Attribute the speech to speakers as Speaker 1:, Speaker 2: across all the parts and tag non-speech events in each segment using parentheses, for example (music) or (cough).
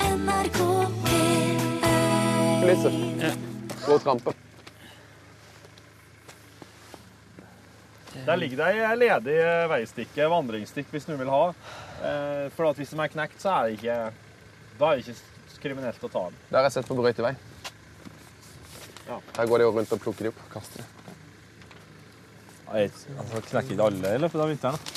Speaker 1: NRK P1
Speaker 2: Lisser. Gå og trampe.
Speaker 3: Der ligger det ei ledig veistikke, vandringsstikk, hvis noen vil ha. Eh, For at hvis de er knekt, så er det ikke, da er det ikke kriminelt å ta den.
Speaker 2: Der har jeg sett på brøytevei.
Speaker 3: Ja.
Speaker 2: Her går de jo rundt og plukker de opp og kaster de.
Speaker 4: Altså, knekker ikke alle i løpet av vinteren?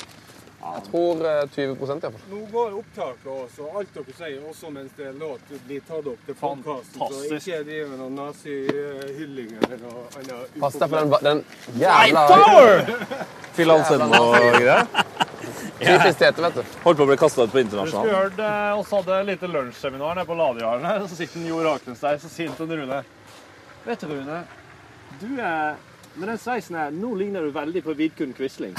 Speaker 2: Jeg tror eh, 20 iallfall.
Speaker 5: Nå går opptaket også, og alt dere sier, også mens det er låt, blir tatt opp til podkasten. Så
Speaker 3: Fantastisk.
Speaker 5: ikke driv med noen nazihylling eller noe annet.
Speaker 2: Pass deg for den, va- den jævla
Speaker 4: Til all sødme og greier?
Speaker 2: Typisk Tete, vet du.
Speaker 4: Holdt på å bli kasta
Speaker 3: Du
Speaker 4: ut på
Speaker 3: skulle
Speaker 4: internasjonal.
Speaker 3: hørt eh, oss hadde et lite lunsjseminar nede på Ladehjørnet. Så sitter en Jo Raknes der, så sier han til en Rune Vet du, Rune, du er med den sveisen her, nå ligner du veldig på Vidkun
Speaker 4: (laughs)
Speaker 3: Quisling.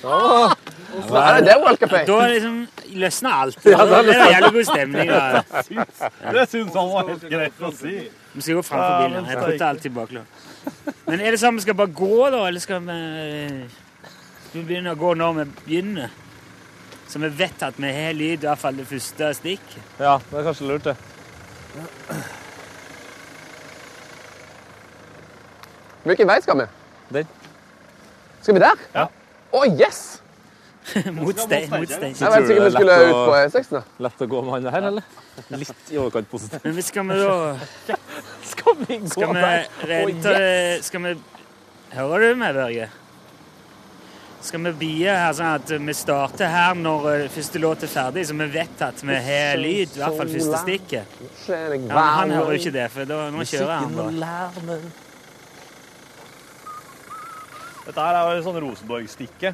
Speaker 2: Nei, det er det World Cup er.
Speaker 6: Da liksom løsner alt. Det er jævlig god stemning. da.
Speaker 3: Det syns han var helt greit å si.
Speaker 6: Vi skal gå fram for bilen. Jeg putter alltid baklov. Men er det sånn vi skal bare gå, da? Eller skal vi Skal vi begynne å gå når vi begynner? Så vi vet at vi har lyd, i hvert fall det første stikk. (laughs)
Speaker 4: Ja, det er kanskje lurt, det.
Speaker 2: Hvilken vei skal vi?
Speaker 4: Den.
Speaker 2: Skal vi der?
Speaker 3: Ja.
Speaker 2: Å, yes!
Speaker 6: Mot stein. Mot stein.
Speaker 2: Jeg vet
Speaker 4: Tror du
Speaker 2: ikke om vi
Speaker 4: det er
Speaker 2: skulle
Speaker 4: lett
Speaker 2: ut
Speaker 4: å-
Speaker 2: på E6.
Speaker 4: Lett å gå med han her, eller? (laughs) Litt i overkant positiv.
Speaker 6: Men skal vi da
Speaker 4: (laughs) Skal vi gå
Speaker 6: Skal vi rente Skal vi Hører du meg, Børge? Skal vi bie her sånn at vi starter her når eh, første låt er ferdig, så vi vet at vi har lyd? I hvert fall første stikket. Ja, men han hører jo ikke det, for da, nå kjører han bare.
Speaker 3: Dette her er jo sånn Rosenborg-stikke.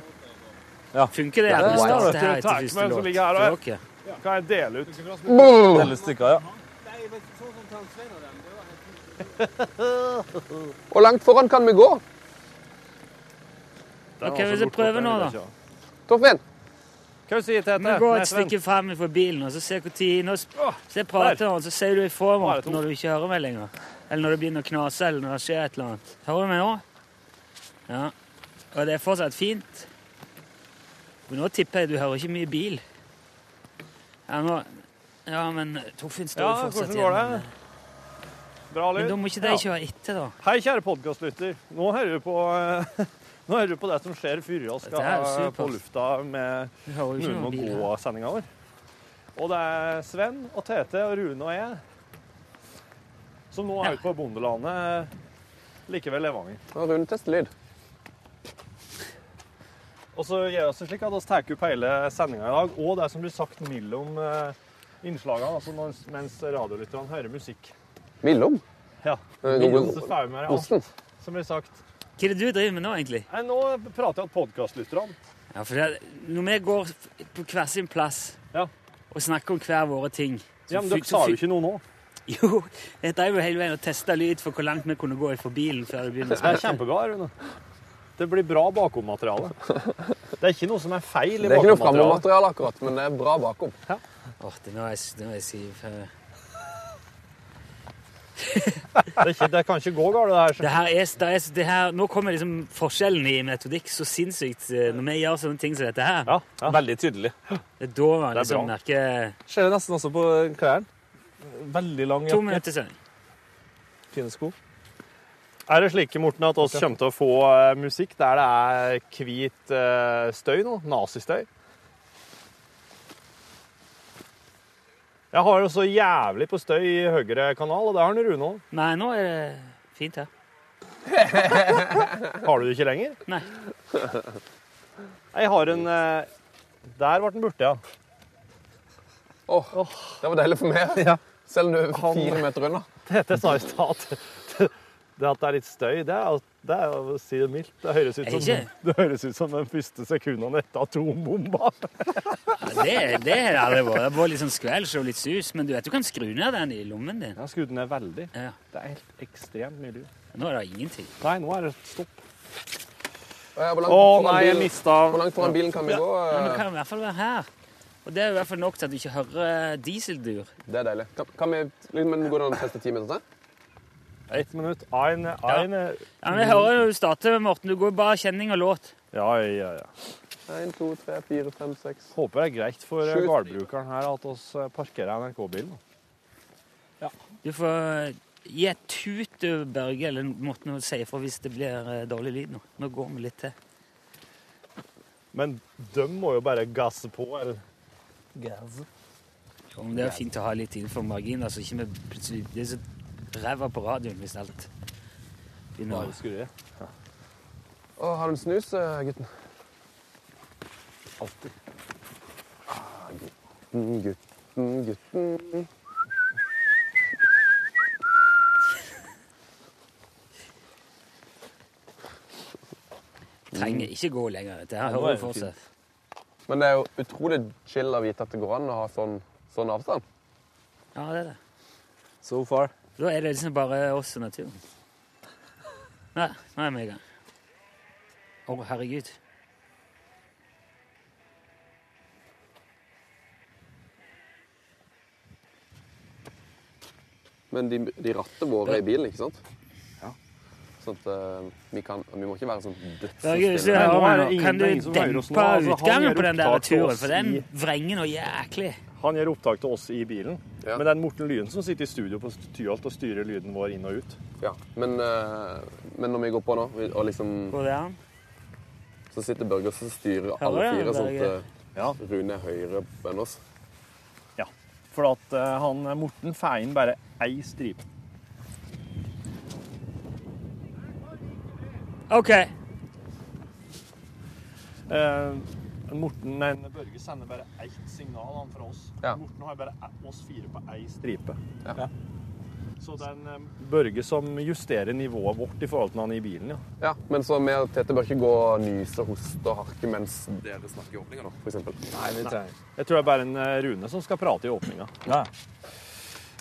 Speaker 6: Funker det at vi
Speaker 2: det er
Speaker 6: starter her
Speaker 3: Takk,
Speaker 6: etter
Speaker 3: men
Speaker 6: første
Speaker 3: så
Speaker 6: låt?
Speaker 3: ligger jeg her, da.
Speaker 6: Tror dere?
Speaker 3: Kan jeg dele ut?
Speaker 4: Hele stykka, ja.
Speaker 2: Og langt foran kan vi gå.
Speaker 3: Den var
Speaker 6: Ok,
Speaker 3: så
Speaker 6: hvis jeg
Speaker 3: bortgått,
Speaker 6: prøver
Speaker 3: den
Speaker 6: nå,
Speaker 3: vil jeg
Speaker 6: da.
Speaker 3: ikke ha.
Speaker 2: Torfinn,
Speaker 3: Hva sier du, Tete?
Speaker 6: Vi går
Speaker 3: Nei,
Speaker 6: et
Speaker 3: Sven.
Speaker 6: stykke frem fra bilen, og så ser hvor tid Nå s- så jeg prater han, så sier du ifra
Speaker 3: Nå er det
Speaker 6: Morten,
Speaker 3: tomt.
Speaker 6: når du ikke hører meg lenger. Eller når det begynner å knase, eller når det skjer et eller annet. Hører du meg nå? Ja. Og det er fortsatt fint. Men nå tipper jeg du hører ikke mye bil. Ja, nå Ja, men Torfinn står
Speaker 3: Ja,
Speaker 6: jo fortsatt
Speaker 3: hvordan går
Speaker 6: igjen. eh,
Speaker 3: det? Bra lyd.
Speaker 6: Men da må ikke de
Speaker 3: Ja.
Speaker 6: kjøre etter, da.
Speaker 3: Hei, kjære podkastlytter. Nå hører du på (laughs) nå hører du på det som skjer før vi skal
Speaker 6: Dette er jo
Speaker 3: ha
Speaker 6: supert.
Speaker 3: på lufta med
Speaker 6: Du hører jo ikke
Speaker 3: Noen må
Speaker 6: noen bil. her.
Speaker 3: gå-sendinga vår. Og det er Sven og Tete og Rune og jeg som nå
Speaker 6: Ja.
Speaker 3: er ute på bondelandet likevel Levanger.
Speaker 2: nå rundtester lyd.
Speaker 3: Og så gjør vi det slik at vi tar opp hele sendinga i dag, og det som blir sagt mellom eh, innslagene, altså når, mens radiolytterne hører musikk.
Speaker 2: Millom.
Speaker 3: Ja.
Speaker 2: Eh,
Speaker 3: Mellom
Speaker 2: god-
Speaker 3: så får vi med alt
Speaker 2: Osten.
Speaker 3: som blir sagt.
Speaker 6: Hva er det du driver med nå, egentlig?
Speaker 3: Nei, nå prater jeg om podkastlytterne.
Speaker 6: Ja, for det, Når vi går f- på hver sin plass
Speaker 3: Ja.
Speaker 6: og snakker om hver våre ting så
Speaker 3: Ja, men
Speaker 6: fy-
Speaker 3: dere
Speaker 6: så
Speaker 3: sa
Speaker 6: fy- (laughs)
Speaker 3: jo ikke noe nå.
Speaker 6: Jo, jeg drev jo hele veien og testa lyd for hvor langt vi kunne gå for bilen før vi begynner å
Speaker 3: Det er
Speaker 6: snakke.
Speaker 3: kjempebra, Rune. Det blir bra
Speaker 2: (laughs)
Speaker 3: bakommateriale. Det er ikke noe som er feil i
Speaker 2: Det er ikke noe
Speaker 3: bakommaterialet.
Speaker 2: framovermateriale akkurat, men det er bra bakom.
Speaker 6: Åh, det nå er jeg s- nå er jeg siv. eh.
Speaker 3: Det, er ikke- det kan ikke gå galt, det her.
Speaker 6: Det her er, s- det er, s- det her, nå kommer liksom forskjellen i metodikk så sinnssykt eh, når vi gjør sånne ting som dette her.
Speaker 3: Ja, ja.
Speaker 4: Veldig tydelig.
Speaker 6: Det er da man
Speaker 3: Det er
Speaker 6: liksom merker
Speaker 4: Ser det nesten også på klærne. Veldig lang
Speaker 6: To
Speaker 4: jakke,
Speaker 6: minutter søvn.
Speaker 4: fine sko.
Speaker 3: Er det slik, Morten, at oss kommer til å få eh, musikk der det er hvit eh, støy nå? Nazistøy? Jeg har jo så jævlig på støy i høyre kanal, og det har han Rune òg.
Speaker 6: Nei, nå er det fint her.
Speaker 3: Har du det ikke lenger?
Speaker 6: Nei.
Speaker 3: Jeg har en eh, Der ble den borte, ja.
Speaker 2: Åh, Det var deilig for meg.
Speaker 3: Ja.
Speaker 2: Selv om du er
Speaker 3: Han-
Speaker 2: fire meter unna.
Speaker 3: Tete sa i stad at det at det er litt støy, det er, det er å si det mildt. Det høres ut
Speaker 6: Er det
Speaker 3: som,
Speaker 6: ikke?
Speaker 3: det høres ut som den første sekundene etter atombomba.
Speaker 6: Ja, det, det har det aldri vært. Det har vært litt sånn skvelsj og litt sus, men du vet du kan skru ned den i lommen din.
Speaker 3: Jeg har skrudd ned veldig.
Speaker 6: Ja.
Speaker 3: Det er helt ekstremt mye lyd.
Speaker 6: Nå er det ingenting.
Speaker 3: Nei, nå er det stopp.
Speaker 2: Å, ja, hvor
Speaker 3: Å
Speaker 2: langt foran
Speaker 3: nei, jeg
Speaker 2: bilen-
Speaker 3: mista
Speaker 2: hvor langt foran bilen kan vi gå?
Speaker 6: Ja, men det
Speaker 2: eh,
Speaker 6: kan i hvert fall være her. Og det er i hvert fall nok til at du ikke hører eh, dieseldur.
Speaker 2: Det er deilig. Kan, kan vi liksom, men går det an å teste sånn? ti minutter til?
Speaker 3: ett minutt. Ein, ein. Mm.
Speaker 6: Ja, men jeg hører jo du starter, Morten. Du går jo bare kjenning og låt.
Speaker 3: Ja, ja, ja.
Speaker 2: Én, to, tre, fire, fem, seks.
Speaker 3: Håper det er greit for eh,
Speaker 2: Skyt.
Speaker 3: gårdbrukeren her at oss eh, parkerer NRK-bilen.
Speaker 6: Du får eh, gi et tut, du, Børge, eller måtte nå si ifra hvis det blir eh, dårlig lyd nå. Nå går vi litt til.
Speaker 3: Men de må jo bare gasse på, eller?
Speaker 6: Jo, men det er fint å ha litt innenfor marginer, så ikke vi plutselig Det er så ræva på radioen hvis alt begynner å
Speaker 3: skurre.
Speaker 2: Å, har du en snus, eh, gutten? Alltid. Ah, gutten, gutten, gutten.
Speaker 6: Trenger ikke gå lenger. Dette her
Speaker 3: Mm. nå
Speaker 6: hører
Speaker 3: er det
Speaker 6: jo fortsatt.
Speaker 2: Men det er jo utrolig chill å vite at det går an å ha sånn, sånn avstand.
Speaker 6: Ja, det er det.
Speaker 3: So far.
Speaker 6: Da er det liksom bare oss og naturen. Nei, nå er vi i gang. Å, herregud.
Speaker 2: Men de, de ratter våre i bilen, ikke sant?
Speaker 3: Ja.
Speaker 2: Sånn at eh, vi kan Vi må ikke være sånn
Speaker 6: Børge, hvis du
Speaker 2: dødsstille.
Speaker 6: hører
Speaker 3: nå er
Speaker 6: meg
Speaker 3: det
Speaker 6: nå,
Speaker 3: ingen-
Speaker 6: kan du
Speaker 3: det er ingen som hører oss nå.
Speaker 6: dempe
Speaker 3: Altså, han
Speaker 6: utgangen
Speaker 3: gjør
Speaker 6: på den der
Speaker 3: opptak til
Speaker 6: turen,
Speaker 3: oss
Speaker 6: for den
Speaker 3: i-
Speaker 6: vrenger noe jæklig.
Speaker 3: Han gjør opptak til oss i bilen.
Speaker 2: Ja.
Speaker 3: Men det er Morten Lyen som sitter i studio på Tyholt og styrer lyden vår inn og ut.
Speaker 2: Ja. Men, eh, men når vi går på nå, og liksom
Speaker 6: Går det an?
Speaker 2: Så sitter Børge og så styrer
Speaker 6: Hører
Speaker 2: alle
Speaker 6: du det,
Speaker 2: fire sånn
Speaker 6: Børge?
Speaker 2: at
Speaker 3: Ja.
Speaker 2: eh, Rune er høyere enn oss.
Speaker 3: Ja. For at eh, han Morten får inn bare ei stripe.
Speaker 6: OK.
Speaker 3: Eh, Morten, nei, Børge sender bare ett signal han fra oss.
Speaker 2: Ja.
Speaker 3: Morten har bare e- oss fire på ei stripe. Så det er en eh, Børge som justerer nivået vårt i forhold til han i bilen, ja.
Speaker 2: Ja, men så vi og Tete bør ikke gå og nyse, hoste og harke mens dere snakker i åpninga, da, for eksempel. Nei,
Speaker 3: Jeg tror det er bare en eh, Rune som skal prate i åpninga.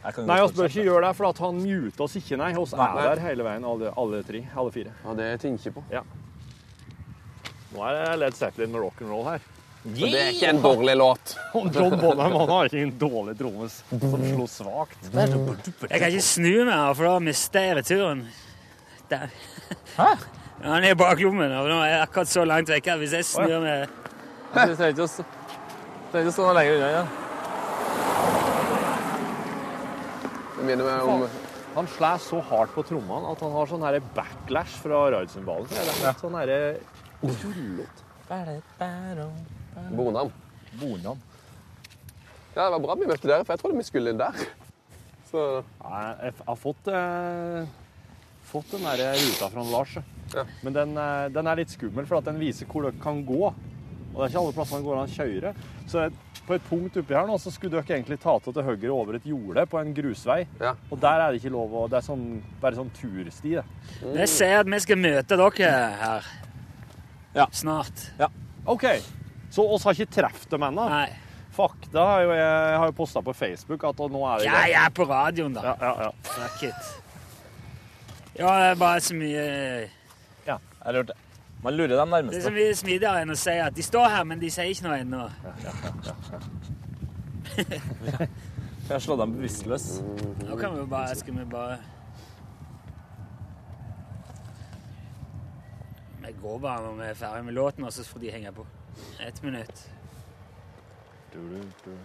Speaker 4: Jeg kan
Speaker 3: Nei,
Speaker 4: godt
Speaker 6: altså,
Speaker 3: oss bør ikke gjøre det, for at han muter oss ikke, nei. Oss er
Speaker 2: Nei.
Speaker 3: der hele veien, alle, alle tre. Alle fire.
Speaker 2: Ja, det tenker jeg på.
Speaker 3: Nå er det Led Zeppelin med rock'n'roll her.
Speaker 2: Men det er ikke en dårlig låt.
Speaker 3: Og (laughs) John Bonham han har ikke en dårlig trommis som slo svakt.
Speaker 6: Jeg kan ikke snu meg, her, for da mister jeg returen. Der. Hæ? (laughs) Han er i baklommen, og nå er jeg akkurat så langt vekk her. Hvis jeg snur meg
Speaker 3: Jeg trenger ikke å s- trenger ikke å stå noe lenger unna igjen.
Speaker 2: Det minner meg om
Speaker 3: Han slår så hardt på trommene at han har sånn her backlash fra ride-cymbalen. Det er helt sånn herre tullete.
Speaker 2: Bonham.
Speaker 4: Bonham.
Speaker 2: Ja, det var bra vi møtte dere, for jeg trodde vi skulle der. Så
Speaker 3: Nei, Jeg f- har fått, eh, fått den der eh, ruta fra Lars.
Speaker 2: Ja.
Speaker 3: Men den, eh, den er litt skummel, for at den viser hvor dere kan gå. Og det er ikke alle plassene det går an å kjøre. Så et- på et punkt oppi her nå, så skulle dere egentlig ta til til høyre over et jorde på en grusvei.
Speaker 2: Ja.
Speaker 3: Og der er det ikke lov å Det er sånn, bare sånn tursti. Det.
Speaker 6: Jeg sier at vi skal møte dere her
Speaker 3: Ja.
Speaker 6: snart.
Speaker 3: OK. Så oss har ikke truffet dem ennå.
Speaker 6: Nei.
Speaker 3: Fakta har jo jeg har jo posta på Facebook at og nå er det
Speaker 6: Ja, jeg er på radioen, da.
Speaker 3: Ja, ja, ja.
Speaker 6: Fuck it. Ja, det er bare så mye
Speaker 4: Jeg lurte. Man lurer de
Speaker 6: Det er
Speaker 4: nærmeste.
Speaker 6: så mye smidigere enn å si at de står her, men de sier ikke noe ennå.
Speaker 4: Jeg slår dem bevisstløs.
Speaker 6: Nå kan vi jo bare Skal vi bare Vi går bare når vi er ferdig med låten, og så får de henge på. Ett minutt.
Speaker 3: Du-du-du.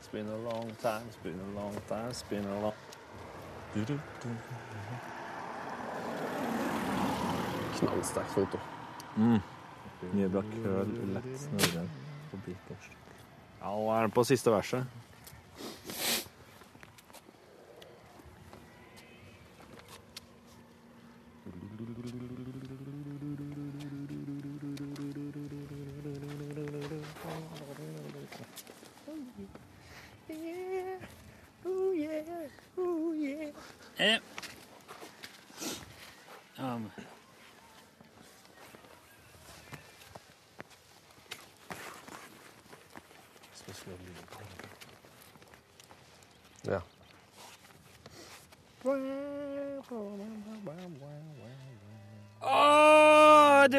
Speaker 3: Spin a long time, spin a long time, spin a long
Speaker 2: knallsterkt foto.
Speaker 4: Nybakt køl, lett snurre på bilbors.
Speaker 3: Ja, nå er den på siste verset.
Speaker 6: Eh. Ja, men-
Speaker 2: Ja.
Speaker 6: Å, du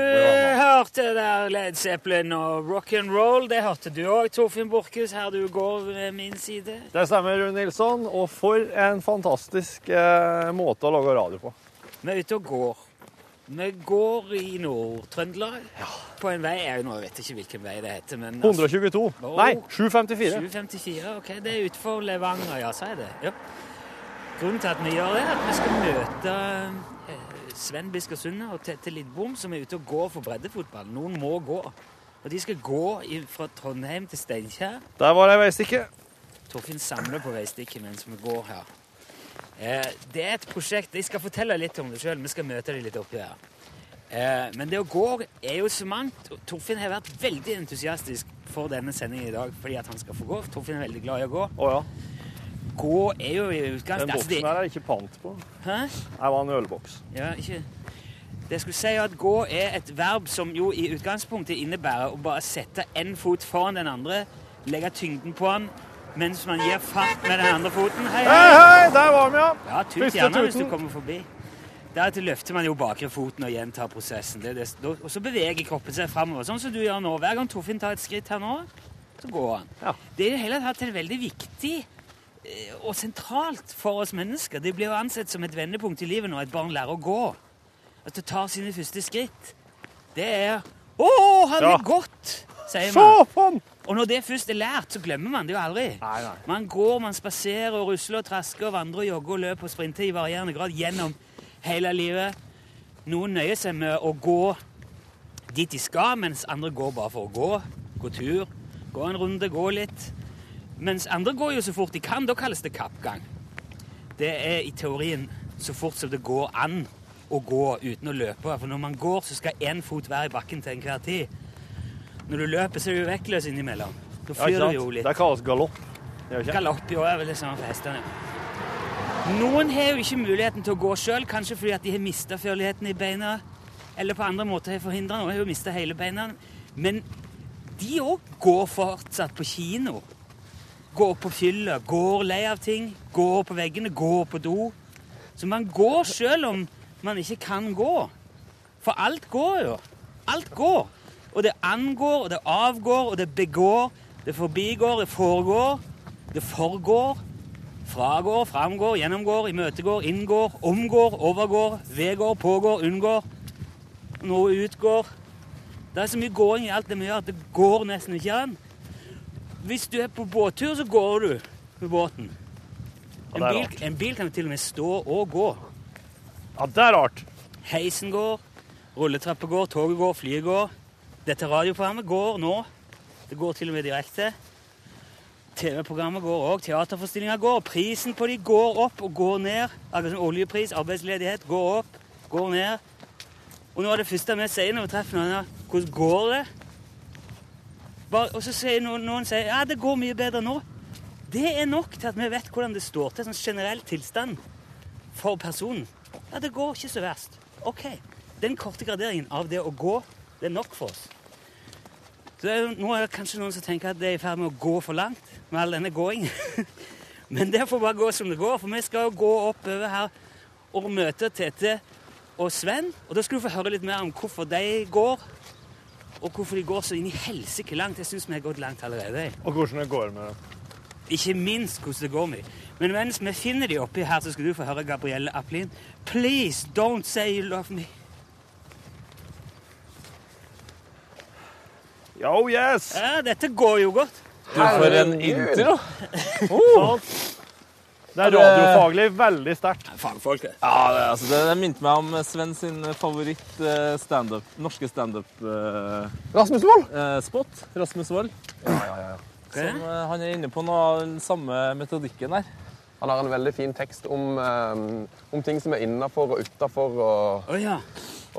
Speaker 6: hørte der Led Zeppelin og rock'n'roll. Det hørte du òg, Torfinn Borchhus, her du går ved min side.
Speaker 3: Det stemmer, Rune Nilsson. Og for en fantastisk eh, måte å lage radio på.
Speaker 6: Vi er ute og går. Vi går i Nord-Trøndelag på en vei Jeg nå vet jeg ikke hvilken vei det heter, men altså,
Speaker 3: 122. Nei, 754.
Speaker 6: 754. Ok, det er utenfor Levanger, ja, sier det. Ja. Grunnen til at vi gjør det, er at vi skal møte eh, Sven Bisker Sunde og Tette Lidbom, som er ute og går for breddefotball. Noen må gå. Og de skal gå i- fra Trondheim til Steinkjer.
Speaker 3: Der var det veistikke.
Speaker 6: Torfinn samler på veistikket mens vi går her. Eh, det er et prosjekt Jeg skal fortelle litt om det sjøl. Vi skal møte dem litt oppi her. Eh, men det å gå er jo så mangt. og Torfinn har vært veldig entusiastisk for denne sendingen i dag fordi at han skal få gå. Torfinn er veldig glad i å gå.
Speaker 3: Å ja.
Speaker 6: Gå er jo i
Speaker 3: Den
Speaker 6: utgangspunktet Altså,
Speaker 3: boksen her er ikke pant på.
Speaker 6: Hæ?
Speaker 3: Her var en ølboks.
Speaker 6: Ja, ikke Det jeg skulle si er at gå er et verb som jo i utgangspunktet innebærer å bare sette én fot foran den andre, legge tyngden på den mens man gir fart med den andre foten. Hei, hei!
Speaker 3: Hei, hei, der var vi, ja.
Speaker 6: Ja, tut
Speaker 3: Første
Speaker 6: gjerne hvis
Speaker 3: tuten.
Speaker 6: du kommer forbi. Deretter løfter man jo bakre foten og gjentar prosessen. Det, er det, da- og så beveger kroppen seg framover, sånn som du gjør nå. Hver gang Torfinn tar et skritt her nå, så går han.
Speaker 3: Ja.
Speaker 6: Det er i det hele tatt veldig viktig eh, og sentralt for oss mennesker. Det blir jo ansett som et vendepunkt i livet når et barn lærer å gå. At det tar sine første skritt. Det er Å, han
Speaker 3: Ja.
Speaker 6: er gått!
Speaker 3: Se
Speaker 6: sier man.
Speaker 3: på den!
Speaker 6: Og når det først er lært, så glemmer man det jo aldri.
Speaker 3: Nei, nei.
Speaker 6: Man går, man spaserer og rusler og trasker og vandrer og jogger og løper og sprinter i varierende grad gjennom hele livet. Noen nøyer seg med å gå dit de skal, mens andre går bare for å gå. Gå tur, gå en runde, gå litt. Mens andre går jo så fort de kan. Da kalles det kappgang. Det er i teorien så fort som det går an å gå uten å løpe. For når man går, så skal én fot være i bakken til enhver tid. Når du løper, så er du vektløs innimellom. Da
Speaker 3: Ja,
Speaker 6: flyr
Speaker 3: ikke
Speaker 6: du jo
Speaker 3: sant?
Speaker 6: litt.
Speaker 3: Det kalles galopp. Det er jo ikke.
Speaker 6: Galopp i år er vel det samme for hestene. Noen har jo ikke muligheten til å gå sjøl, kanskje fordi at de har mista førligheten i beina, eller på andre måter har forhindra noe, har jo mista hele beina. Men de òg går fortsatt på kino. Går på fylla, går lei av ting, går på veggene, går på do. Så man går sjøl om man ikke kan gå. For alt går jo. Alt går. Og det angår, og det avgår, og det begår, det forbigår, det foregår, det forgår. Fragår, framgår, gjennomgår, imøtegår, inngår, omgår, overgår, vedgår, pågår, unngår. Noe utgår. Det er så mye gåing i alt det vi gjør at det går nesten ikke an. Hvis du er på båttur, så går du med båten.
Speaker 3: Ja, det er
Speaker 6: En bil,
Speaker 3: rart.
Speaker 6: en bil kan jo til og med stå og gå.
Speaker 3: Ja, det er rart.
Speaker 6: Heisen går, rulletrappa går, toget går, flyet går. Dette radioprogrammet går nå. Det går til og med direkte. TV-programmet går òg, teaterforestillinger går. Prisen på de går opp og går ned. Akkurat som oljepris, arbeidsledighet går opp, går ned. Og nå er det første vi sier når vi treffer noen, er, hvordan går det? Bare, og så sier noen, noen sier, ja, det går mye bedre nå. Det er nok til at vi vet hvordan det står til, sånn generell tilstand for personen. Ja, det går ikke så verst. OK. Den korte graderingen av det å gå, det er nok for oss. Så det er, jo- nå er det kanskje noen som tenker at det er i ferd med å gå for langt med all denne gåingen. (laughs) Men det får bare gå som det går, for vi skal jo gå oppover her og møte Tete og Sven. Og da skal du få høre litt mer om hvorfor de går, og hvorfor de går så inn i helsike langt. Jeg syns vi har gått langt allerede. jeg.
Speaker 3: Og hvordan det går med det.
Speaker 6: Ikke minst hvordan det går med dem. Men mens vi finner de oppi her, så skal du få høre Gabrielle Aplin. Please don't say you love me.
Speaker 3: Yo, yes!
Speaker 6: Ja, dette går jo godt.
Speaker 4: Du, for en intro!
Speaker 3: Det er radiofaglig veldig sterkt.
Speaker 6: Fagfolket.
Speaker 4: Ja, det, altså, det, det minte meg om Sven sin favoritt eh, stand-up, norske standup-spot.
Speaker 2: Rasmus Wold!
Speaker 4: Rasmus Wold.
Speaker 6: Sånn.
Speaker 4: Som, eh, han er inne på noe av den samme metodikken der.
Speaker 2: Han har en veldig fin tekst om, eh, om ting som er innafor og utafor, og,
Speaker 6: Å ja.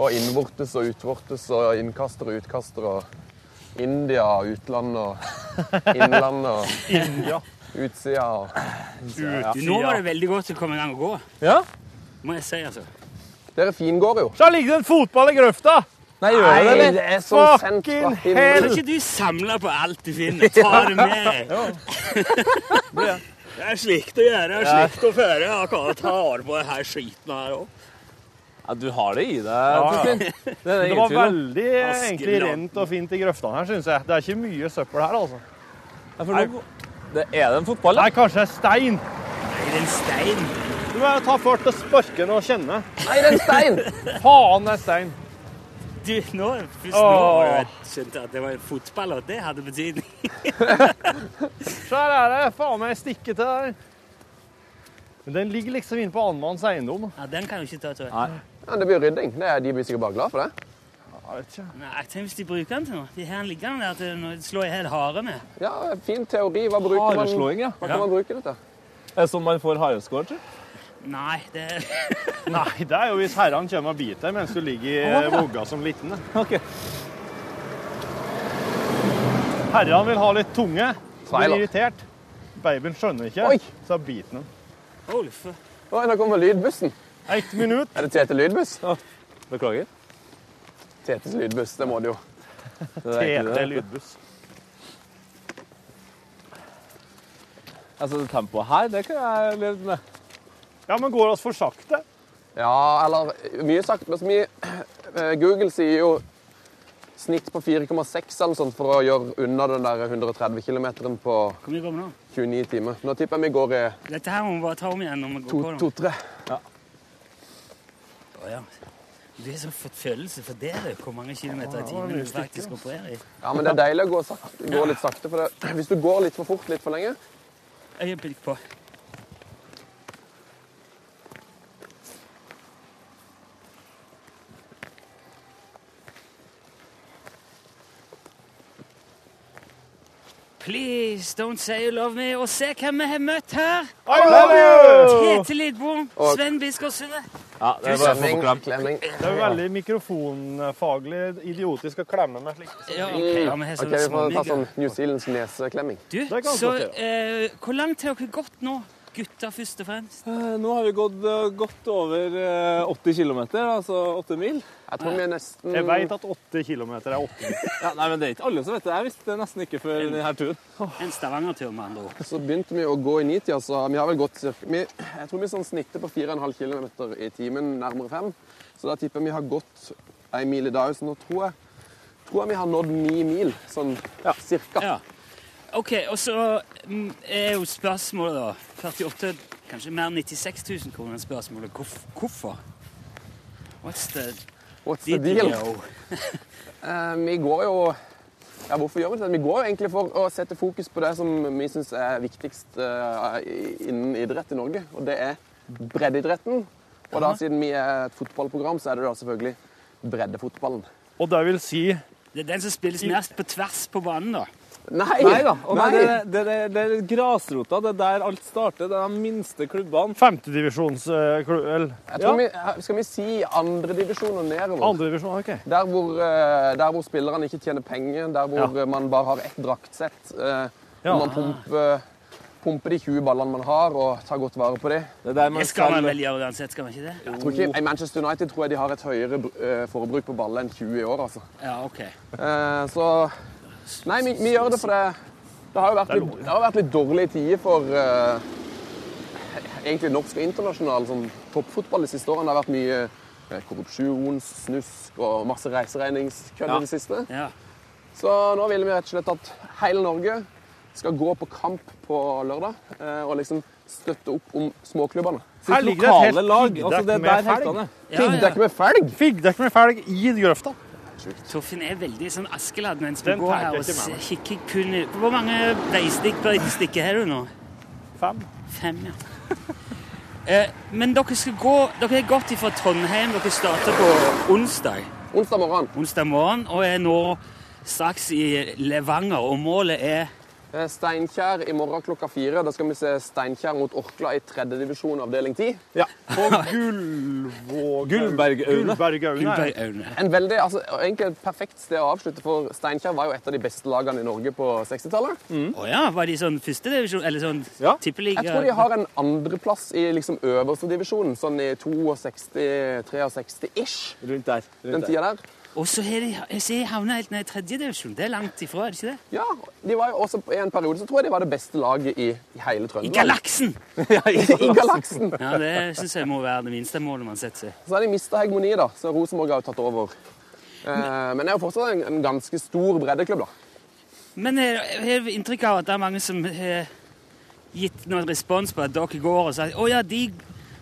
Speaker 2: og innvortes og utvortes, og innkaster og utkaster, og India og utland og innland og
Speaker 3: (laughs) India.
Speaker 2: utsida og
Speaker 6: Du, Nå var det veldig godt å komme i gang og gå,
Speaker 4: Ja?
Speaker 6: må jeg si, altså.
Speaker 2: Dere fingår jo.
Speaker 3: Så her ligger det en fotball i grøfta!
Speaker 4: Nei, gjør det det, eller?
Speaker 2: er så
Speaker 3: Fucking
Speaker 2: sendt fra
Speaker 6: Kan
Speaker 2: himmelen.
Speaker 6: ikke du samle på alt du finner? Ta det med deg. Det er slikt å gjøre, det er slikt å føre. Jeg kan ta vare på det her skiten her òg.
Speaker 4: Ja, du har det i deg,
Speaker 3: ja. (laughs)
Speaker 4: Torfinn. Det er det
Speaker 3: Det
Speaker 4: ingen
Speaker 3: var
Speaker 4: tvil om.
Speaker 3: veldig eh, egentlig rent og fint i grøftene her, syns jeg. Det er ikke mye søppel her, altså.
Speaker 4: Ja, for nå- Det er det en fotball,
Speaker 3: Nei,
Speaker 4: da?
Speaker 3: kanskje det er stein.
Speaker 6: Er det en stein?
Speaker 3: Du må ta fart og sparke den og kjenne.
Speaker 2: Nei, det er en stein!
Speaker 3: Faen, det er stein.
Speaker 6: Du, nå, først nå har jeg skjønt at det var en fotball, og det hadde betydning.
Speaker 3: Så her er det faen meg stikkete der. Men den ligger liksom inne på annenmanns eiendom.
Speaker 6: Ja, den kan jo ikke ta, tror jeg.
Speaker 4: Nei.
Speaker 2: Ja, det blir rydding. Det er, de blir sikkert bare glad for det.
Speaker 3: Jeg vet ikke.
Speaker 6: Nei, tenk hvis de bruker den til noe. De her ligger den der til å slå i hel hare med.
Speaker 2: Ja, fin teori. Hva
Speaker 3: Ah,
Speaker 2: bruker man,
Speaker 3: Hareslåing, ja.
Speaker 2: hva kan man bruke det til?
Speaker 4: Er det sånn man får hareskår, tror du?
Speaker 6: Nei, det
Speaker 3: Nei, det er jo hvis herrene kommer og biter mens du ligger i vogga som liten.
Speaker 4: Ok.
Speaker 3: Herrene vil ha litt tunge.
Speaker 2: Feil,
Speaker 3: Blir
Speaker 2: da.
Speaker 3: irritert. Babyen skjønner ikke,
Speaker 2: Oi.
Speaker 3: så biter den.
Speaker 6: Holy fuck.
Speaker 2: Oi, nå kommer lydbussen.
Speaker 3: Ett minutt.
Speaker 2: Er det Tete Lydbuss?
Speaker 4: Beklager.
Speaker 2: Tetes lydbuss, det må det jo.
Speaker 4: Det er egentlig
Speaker 3: TT
Speaker 4: det.
Speaker 3: lydbuss.
Speaker 4: Altså, det tempoet her, det kan jeg leve med.
Speaker 3: Ja, men går oss for sakte?
Speaker 2: Ja, eller mye sagt, men så mye eh, Google sier jo snitt på 4,6 eller noe sånt for å gjøre unna den der 130 km på
Speaker 6: Hvor mye går vi nå?
Speaker 2: 29 timer. Nå tipper jeg vi går i
Speaker 6: Dette her må vi bare ta om igjen når vi går på den.
Speaker 2: 2-3.
Speaker 6: Å, ja. Det er sånn forfølgelse for dere, hvor mange kilometer i timen du faktisk opererer i.
Speaker 2: Ja, men det er deilig å gå, sakte, gå litt sakte, for det. hvis du går litt for fort litt for lenge
Speaker 6: Øyeblikk på. Please don't say you love me. Og se hvem vi har møtt her!
Speaker 3: I love you!
Speaker 6: Tete Lidbom, Sven Biskår Sunde.
Speaker 4: Ja, det er bare å få på klem.
Speaker 2: klemming.
Speaker 3: Det er jo veldig mikrofonfaglig idiotisk å klemme med slik.
Speaker 6: Ja, ok, ja, vi har
Speaker 2: Mm. OK,
Speaker 6: sånne
Speaker 2: vi får ta
Speaker 6: småmygger.
Speaker 2: sånn New Zealands neseklemming.
Speaker 6: Du,
Speaker 3: Det kan
Speaker 6: så
Speaker 3: godt
Speaker 6: eh, hvor langt har dere gått nå? Gutter først og fremst.
Speaker 4: Eh, Nå har vi gått eh, godt over eh, 80 km, altså 8 mil.
Speaker 2: Jeg tror vi er nesten
Speaker 3: Jeg vet at åtte kilometer er åtte.
Speaker 4: Ja, nei, men det er ikke alle som vet det. Jeg visste det nesten ikke før denne turen.
Speaker 6: En Stavanger-tur, med andre ord.
Speaker 2: Så begynte vi å gå i nitida, så vi har vel gått cirka vi, Jeg tror vi sånn snitter på 4,5 km i timen, nærmere 5. Så da tipper jeg vi har gått ei mil i dag. Så nå tror jeg, tror jeg vi har nådd ni mil, sånn cirka.
Speaker 6: Ja. OK, og så mm, er jo spørsmålet, da 48 Kanskje mer enn 96 000 kroner spørsmålet. Hvorf hvorfor? What's the
Speaker 2: What's the deal?
Speaker 6: deal?
Speaker 2: Eh, vi går jo ja, hvorfor gjør vi det? Vi går jo egentlig for å sette fokus på det som vi syns er viktigst eh, i- innen idrett i Norge, og det er breddeidretten. Og da, siden vi er et fotballprogram, så er det da selvfølgelig breddefotballen.
Speaker 3: Og det vil si
Speaker 6: Det er den som spilles mest på tvers på banen, da.
Speaker 2: Nei!
Speaker 4: Nei da. Og nei,
Speaker 2: Nei!
Speaker 4: Det, det, det, det er grasrota. Det er der alt starter. Det er de minste klubbene.
Speaker 3: eh, femtedivisjonsklubb
Speaker 2: Jeg tror vi, skal vi si andredivisjon og nedover?
Speaker 3: Andredivisjon, OK.
Speaker 2: Der hvor, eh, der hvor spillerne ikke tjener penger, der hvor
Speaker 3: Ja.
Speaker 2: eh, man bare har ett draktsett. eh,
Speaker 3: Ja.
Speaker 4: Ah.
Speaker 2: og Man pumper, eh, pumper de 20 ballene man har, og tar godt vare på de.
Speaker 4: Det er der man
Speaker 6: Det skal man
Speaker 4: selger-
Speaker 6: vel gjøre uansett, skal man ikke det?
Speaker 2: Jeg tror ikke, I Manchester United tror jeg de har et høyere eh, forbruk på baller enn 20 i år, altså.
Speaker 6: Ja, OK.
Speaker 2: Eh, så Nei, vi, vi gjør det for det Det har jo vært litt, det har vært litt dårlige tider for eh, egentlig norsk og internasjonal sånn, toppfotball de siste årene. Det har vært mye eh, korrupsjon, snusk og masse reiseregningskødd i det siste.
Speaker 6: Ja.
Speaker 2: Så nå ville vi rett og slett at hele Norge skal gå på kamp på lørdag eh, og liksom støtte opp om småklubbene.
Speaker 3: Her
Speaker 4: sitt
Speaker 3: ligger det et helt
Speaker 4: lokale lag.
Speaker 3: piggdekk
Speaker 4: Altså, det er
Speaker 3: med
Speaker 4: der
Speaker 3: felg.
Speaker 4: heltene.
Speaker 6: Ja, ja.
Speaker 2: Piggdekk med felg!
Speaker 3: Piggdekk med felg i grøfta.
Speaker 6: Torfinn er veldig sånn Askeladden når en
Speaker 3: Den
Speaker 6: skal gå
Speaker 3: tar jeg
Speaker 6: her og
Speaker 3: ikke med
Speaker 6: se-
Speaker 3: meg.
Speaker 6: kikke kun ut. Hvor mange veistikk bør ikke stikke her du nå?
Speaker 3: Fem.
Speaker 6: Fem,
Speaker 3: (laughs)
Speaker 6: ja. Eh, Men dere skal gå Dere er gått ifra Trondheim. Dere starter på onsdag,
Speaker 2: Onsdag morgen.
Speaker 6: onsdag morgen og er nå straks i Levanger. Og målet er
Speaker 2: Eh, Steinkjer i morgen klokka fire. Da skal vi se Steinkjer mot Orkla i tredje divisjon avdeling ti.
Speaker 3: På Gullvåg...
Speaker 4: Gullbergaune.
Speaker 3: Gullbergaune.
Speaker 6: Gullbergaune.
Speaker 2: En veldig, altså Egentlig et perfekt sted å avslutte, for Steinkjer var jo et av de beste lagene i Norge på 60-tallet.
Speaker 3: Mm.
Speaker 6: Å ja, var de sånn førstedivisjon? Eller sånn
Speaker 4: Ja.
Speaker 6: tippeliga?
Speaker 2: Jeg tror de har en andreplass i liksom øverste divisjon, sånn i 62-63-ish.
Speaker 4: Rundt der.
Speaker 2: Den
Speaker 4: Rundt der.
Speaker 2: tida der.
Speaker 6: Og så har de jeg ser de havna helt ned i tredjedivisjon. Det er langt ifra, er det ikke det?
Speaker 2: Ja, de var jo også I en periode så tror jeg de var det beste laget i, i hele
Speaker 6: I
Speaker 2: Trøndelag.
Speaker 6: galaksen!
Speaker 2: (laughs) I galaksen!
Speaker 6: Ja, det syns jeg må være det minste målet man setter seg.
Speaker 2: Så har de mista hegemoni, da, så Rosenborg har jo tatt over. Eh, men det er jo fortsatt en, en ganske stor breddeklubb, da.
Speaker 6: Men jeg jeg har inntrykk av at det er mange som har gitt noen respons på at dere går og sier å ja, de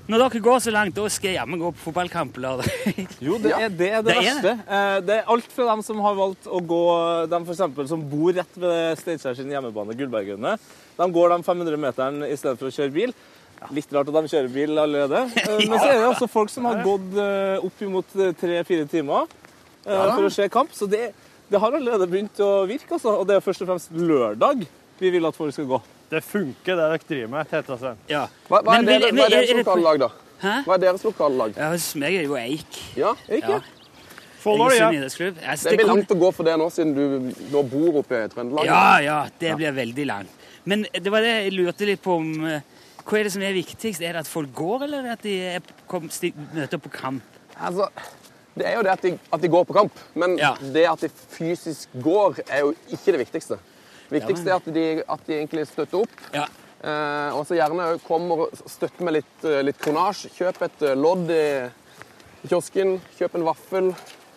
Speaker 6: Når dere går så langt, da skal jeg jammen gå på fotballkamp lørdag.
Speaker 4: Jo, det
Speaker 2: Ja.
Speaker 4: er det, er det,
Speaker 6: Det er det.
Speaker 4: verste. Eh, Det er alt fra dem som har valgt å gå De for eksempel, som bor rett ved Steinkjer sin hjemmebane, Gullbergøyene. De går de 500 meterne i stedet for å kjøre bil. Litt rart at de kjører bil allerede. Eh, Men så er det altså folk som har gått eh, opp imot tre-fire timer eh, for å se kamp. Så det, det har allerede begynt å virke, altså. Og det er først og fremst lørdag vi vil at folk skal gå.
Speaker 3: Det funker, det dere driver med, heter det.
Speaker 6: (laughs) Ja.
Speaker 2: Hva, hva, er,
Speaker 6: Men vil-
Speaker 2: dere, hva
Speaker 6: men
Speaker 2: er deres
Speaker 6: er det-
Speaker 2: lokale lag, da?
Speaker 6: Hæ?
Speaker 2: Hva er deres lokale lag?
Speaker 6: Ja, Hos meg er det jo Eik.
Speaker 2: Ja, er ikke?
Speaker 6: Ja.
Speaker 3: Follow, ja.
Speaker 6: Egersund idrettsklubb. Jeg synes
Speaker 2: Det
Speaker 6: det
Speaker 2: blir
Speaker 6: kom-
Speaker 2: langt å gå for det nå, siden du nå bor oppe i Trøndelag.
Speaker 6: Ja, ja, det blir veldig langt. Men det var det jeg lurte litt på om eh, Hva er det som er viktigst? Er det at folk går, eller er det at de er kom, sti, møter på kamp?
Speaker 2: Altså, det er jo det at de, at de går på kamp, men
Speaker 6: Ja.
Speaker 2: det at de fysisk går, er jo ikke det viktigste. Det viktigste er
Speaker 6: Ja,
Speaker 2: at de, at de egentlig støtter opp.
Speaker 6: Ja.
Speaker 2: Eh, og så gjerne kommer og støtter med litt, eh, litt kronasj. Kjøp et eh, lodd i kiosken. Kjøp en vaffel.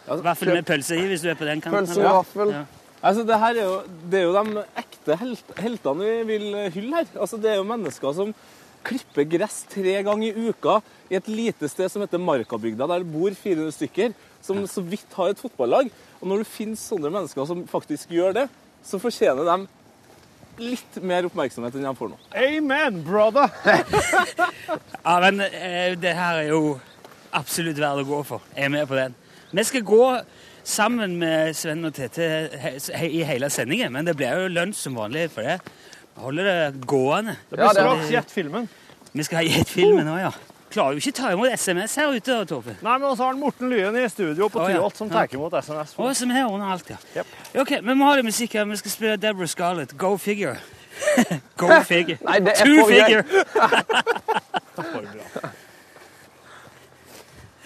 Speaker 6: I hvert fall med pølse i, hvis du er på den kanten.
Speaker 2: Pølse med
Speaker 6: eller?
Speaker 2: vaffel.
Speaker 6: Ja.
Speaker 4: Altså, det, her er jo, det er jo de ekte helt, heltene vi vil hylle her. Altså, det er jo mennesker som klipper gress tre ganger i uka i et lite sted som heter Markabygda, der det bor 400 stykker, som så vidt har et fotballag. Og når det finnes sånne mennesker som faktisk gjør det, så fortjener de litt mer oppmerksomhet enn de får nå.
Speaker 3: (laughs) Amen, brother!
Speaker 6: Ja, men eh, det her er jo absolutt verdt å gå for. Jeg er med på den. Vi skal gå sammen med Sven og Tete he, he, i hele sendingen, men det blir jo lunsj som vanlig for det. Holder det gående.
Speaker 3: Det blir
Speaker 2: det er-
Speaker 3: straks gjett filmen.
Speaker 6: Vi skal ha gitt filmen òg, ja. Klarer jo ikke ta imot SMS her ute, Torfe.
Speaker 3: Nei, men også har han Morten Lyen i studio på
Speaker 6: Å, ja.
Speaker 3: Tyholt som
Speaker 6: Ja.
Speaker 3: tar imot SMS.
Speaker 6: Å, som her under alt, ja. Ok, vi må ha litt musikk her. Vi skal spille Deborah Scarlett. Go figure. (laughs) Go figure.
Speaker 2: Nei, (laughs) det er
Speaker 6: Two
Speaker 2: for gøy.
Speaker 6: figure. Hei,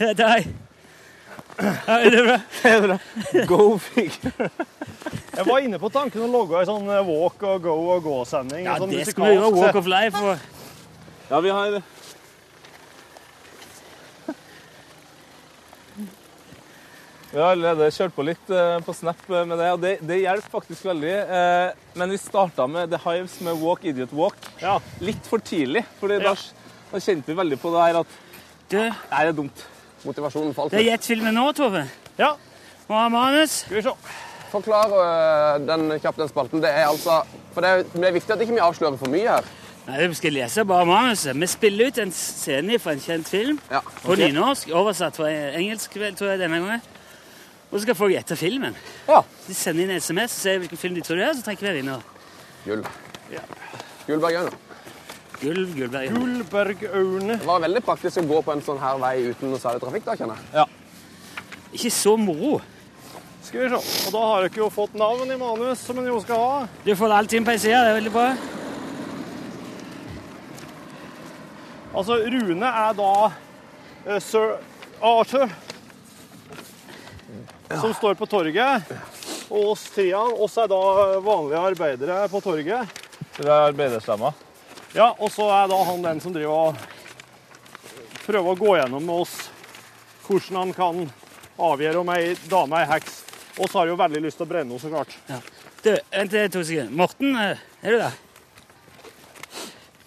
Speaker 6: Hei. Hei, det er bra.
Speaker 4: Go figure!
Speaker 3: Jeg var inne på tanken å logge ei sånn walk og go og gå-sending.
Speaker 6: Ja,
Speaker 3: en sånn
Speaker 6: det skulle vi jo ha.
Speaker 3: musikalsk-
Speaker 6: Walk of life og
Speaker 4: Ja, vi har (laughs) Vi har allerede kjørt på litt eh, på Snap eh, med det, og det, det hjelper faktisk veldig. Eh, Men vi starta med The Hives med Walk Idiot Walk
Speaker 3: Ja.
Speaker 4: litt for tidlig. fordi
Speaker 3: Ja.
Speaker 4: da, da kjente vi veldig på det her at
Speaker 6: Du,
Speaker 4: det her er dumt.
Speaker 2: Motivasjonen falt
Speaker 6: det er
Speaker 2: litt.
Speaker 6: Jet-filmen nå, Tove.
Speaker 3: ja,
Speaker 6: Og har manus.
Speaker 3: skal vi se.
Speaker 2: Forklar øh, den kjapt den spalten. Det er altså For det er, det er viktig at ikke vi avslører for mye her.
Speaker 6: Nei, vi skal lese bare manuset. Vi spiller ut en scene fra en kjent film.
Speaker 2: Ja.
Speaker 6: På nynorsk, oversatt fra engelsk vel, tror jeg denne gangen. Og så skal folk gjette filmen.
Speaker 4: Ja.
Speaker 6: De sender inn SMS og sier hvilken film de tror det er, så trekker vi en vinner.
Speaker 2: Gull. Gullbergøyene.
Speaker 6: Gull, Gullberg.
Speaker 3: Gullbergørne.
Speaker 2: Det var veldig praktisk å gå på en sånn her vei uten noe særlig trafikk, da, kjenner jeg.
Speaker 6: Ikke så moro.
Speaker 3: Skal vi se. Og da har dere jo fått navn i manus, som en jo skal ha.
Speaker 6: Du får alt inn på ei side, det er veldig bra.
Speaker 3: Altså, Rune er da eh, sir Arthur, som står på torget. Og oss Trian, oss er da vanlige arbeidere på torget.
Speaker 4: Det er arbeiderstemmer.
Speaker 3: Ja, og så er da han den som driver og prøver å gå gjennom med oss hvordan han kan avgjøre om ei dame er heks. Og så har jeg jo veldig lyst til å brenne henne, så klart.
Speaker 6: Du, vent eh, to sekunder. Morten, eh, er du der?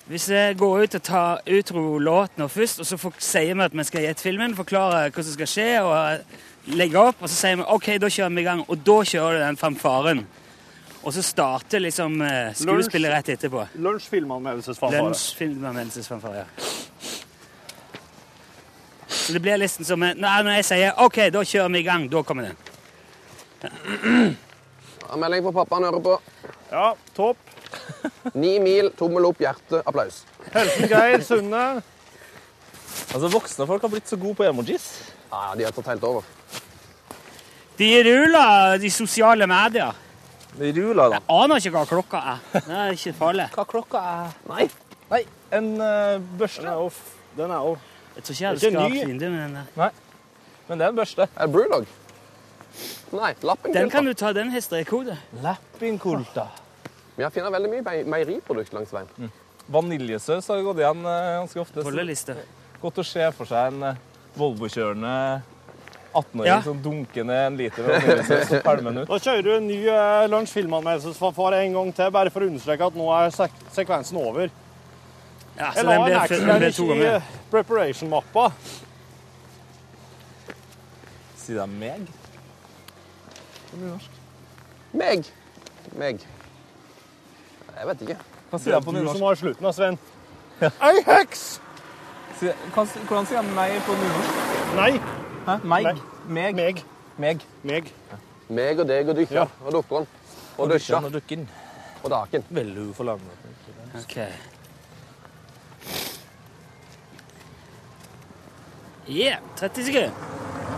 Speaker 6: Hvis jeg går ut og tar utro-låt nå først, og så får, sier vi at vi skal gjette filmen, forklarer hva som skal skje, og eh, legger opp, og så sier vi OK, da kjører vi i gang, og da kjører du den fanfaren. Og så starter liksom eh, skuespillet rett etterpå.
Speaker 3: Lunsj filmanmeldelsesfanfare.
Speaker 6: Lunsjfilmanmeldelsesfanfare. ja. Så det blir liksom som en Nei, når jeg sier OK, da kjører vi i gang, da kommer den.
Speaker 2: Ja, Melding fra pappa han hører på.
Speaker 3: Ja, topp.
Speaker 2: Ni mil, tommel opp, hjerte, applaus.
Speaker 3: Helsen Geir Sunde.
Speaker 4: Altså, Voksne folk har blitt så gode på emojis.
Speaker 2: Ja, ja, de har tatt helt over.
Speaker 6: De ruller, de sosiale medier.
Speaker 4: De ruler, da.
Speaker 6: aner ikke hva klokka er. Det er ikke farlig.
Speaker 4: Hva klokka er?
Speaker 2: Nei.
Speaker 4: Nei, en eh, børste.
Speaker 3: Ja, uff, Den er jo
Speaker 6: Jeg tror ikke jeg hadde
Speaker 4: Det er ikke
Speaker 6: skrapt
Speaker 4: ny.
Speaker 6: vinduet med den der.
Speaker 4: Men det er en børste.
Speaker 2: Er det Brewdog? Nei, lappen
Speaker 6: Den
Speaker 2: Gull,
Speaker 6: kan
Speaker 2: da.
Speaker 6: du ta, den hestrekode.
Speaker 4: Lappinkulta.
Speaker 2: Vi har funnet veldig mye mei- meieriprodukt langs veien.
Speaker 6: Mm.
Speaker 4: Vaniljesaus har gått igjen eh, ganske ofte. så-
Speaker 6: Tolleliste.
Speaker 4: Godt å se for seg en eh, Volvo-kjørende 18-åring
Speaker 6: Ja.
Speaker 4: som dunker ned en liter vaniljesaus og pælmer den ut. (laughs)
Speaker 3: Da kjører du en ny eh, lunsj filmanmeldelsesfanfare en gang til, bare for å understreke at nå er sek sekvensen over.
Speaker 6: Ja, så
Speaker 3: Jeg la
Speaker 6: den
Speaker 3: en
Speaker 6: ble,
Speaker 3: action
Speaker 6: den ble to
Speaker 3: i
Speaker 6: ganger.
Speaker 3: eh, preparation-mappa.
Speaker 4: Si det er meg.
Speaker 2: Meg. Meg. Jeg vet ikke.
Speaker 4: Hva
Speaker 3: Det
Speaker 4: sier
Speaker 3: er
Speaker 4: jeg på
Speaker 3: du som
Speaker 4: nynorsk?
Speaker 3: har slutten, da, Sven. Ei heks!
Speaker 4: Si- hva- Hvordan sier jeg meg på nynorsk?
Speaker 3: Nei,
Speaker 4: Hæ? Meg?
Speaker 3: Meg.
Speaker 4: Meg?
Speaker 3: meg.
Speaker 4: Meg.
Speaker 3: Meg.
Speaker 2: Meg og deg og dykka
Speaker 3: Ja.
Speaker 2: og dukkeren. Og døsja
Speaker 4: Kjønn og dukken.
Speaker 2: og daken.
Speaker 4: Veldig uforlangende.
Speaker 6: Ok. Yeah, 30 sekunder.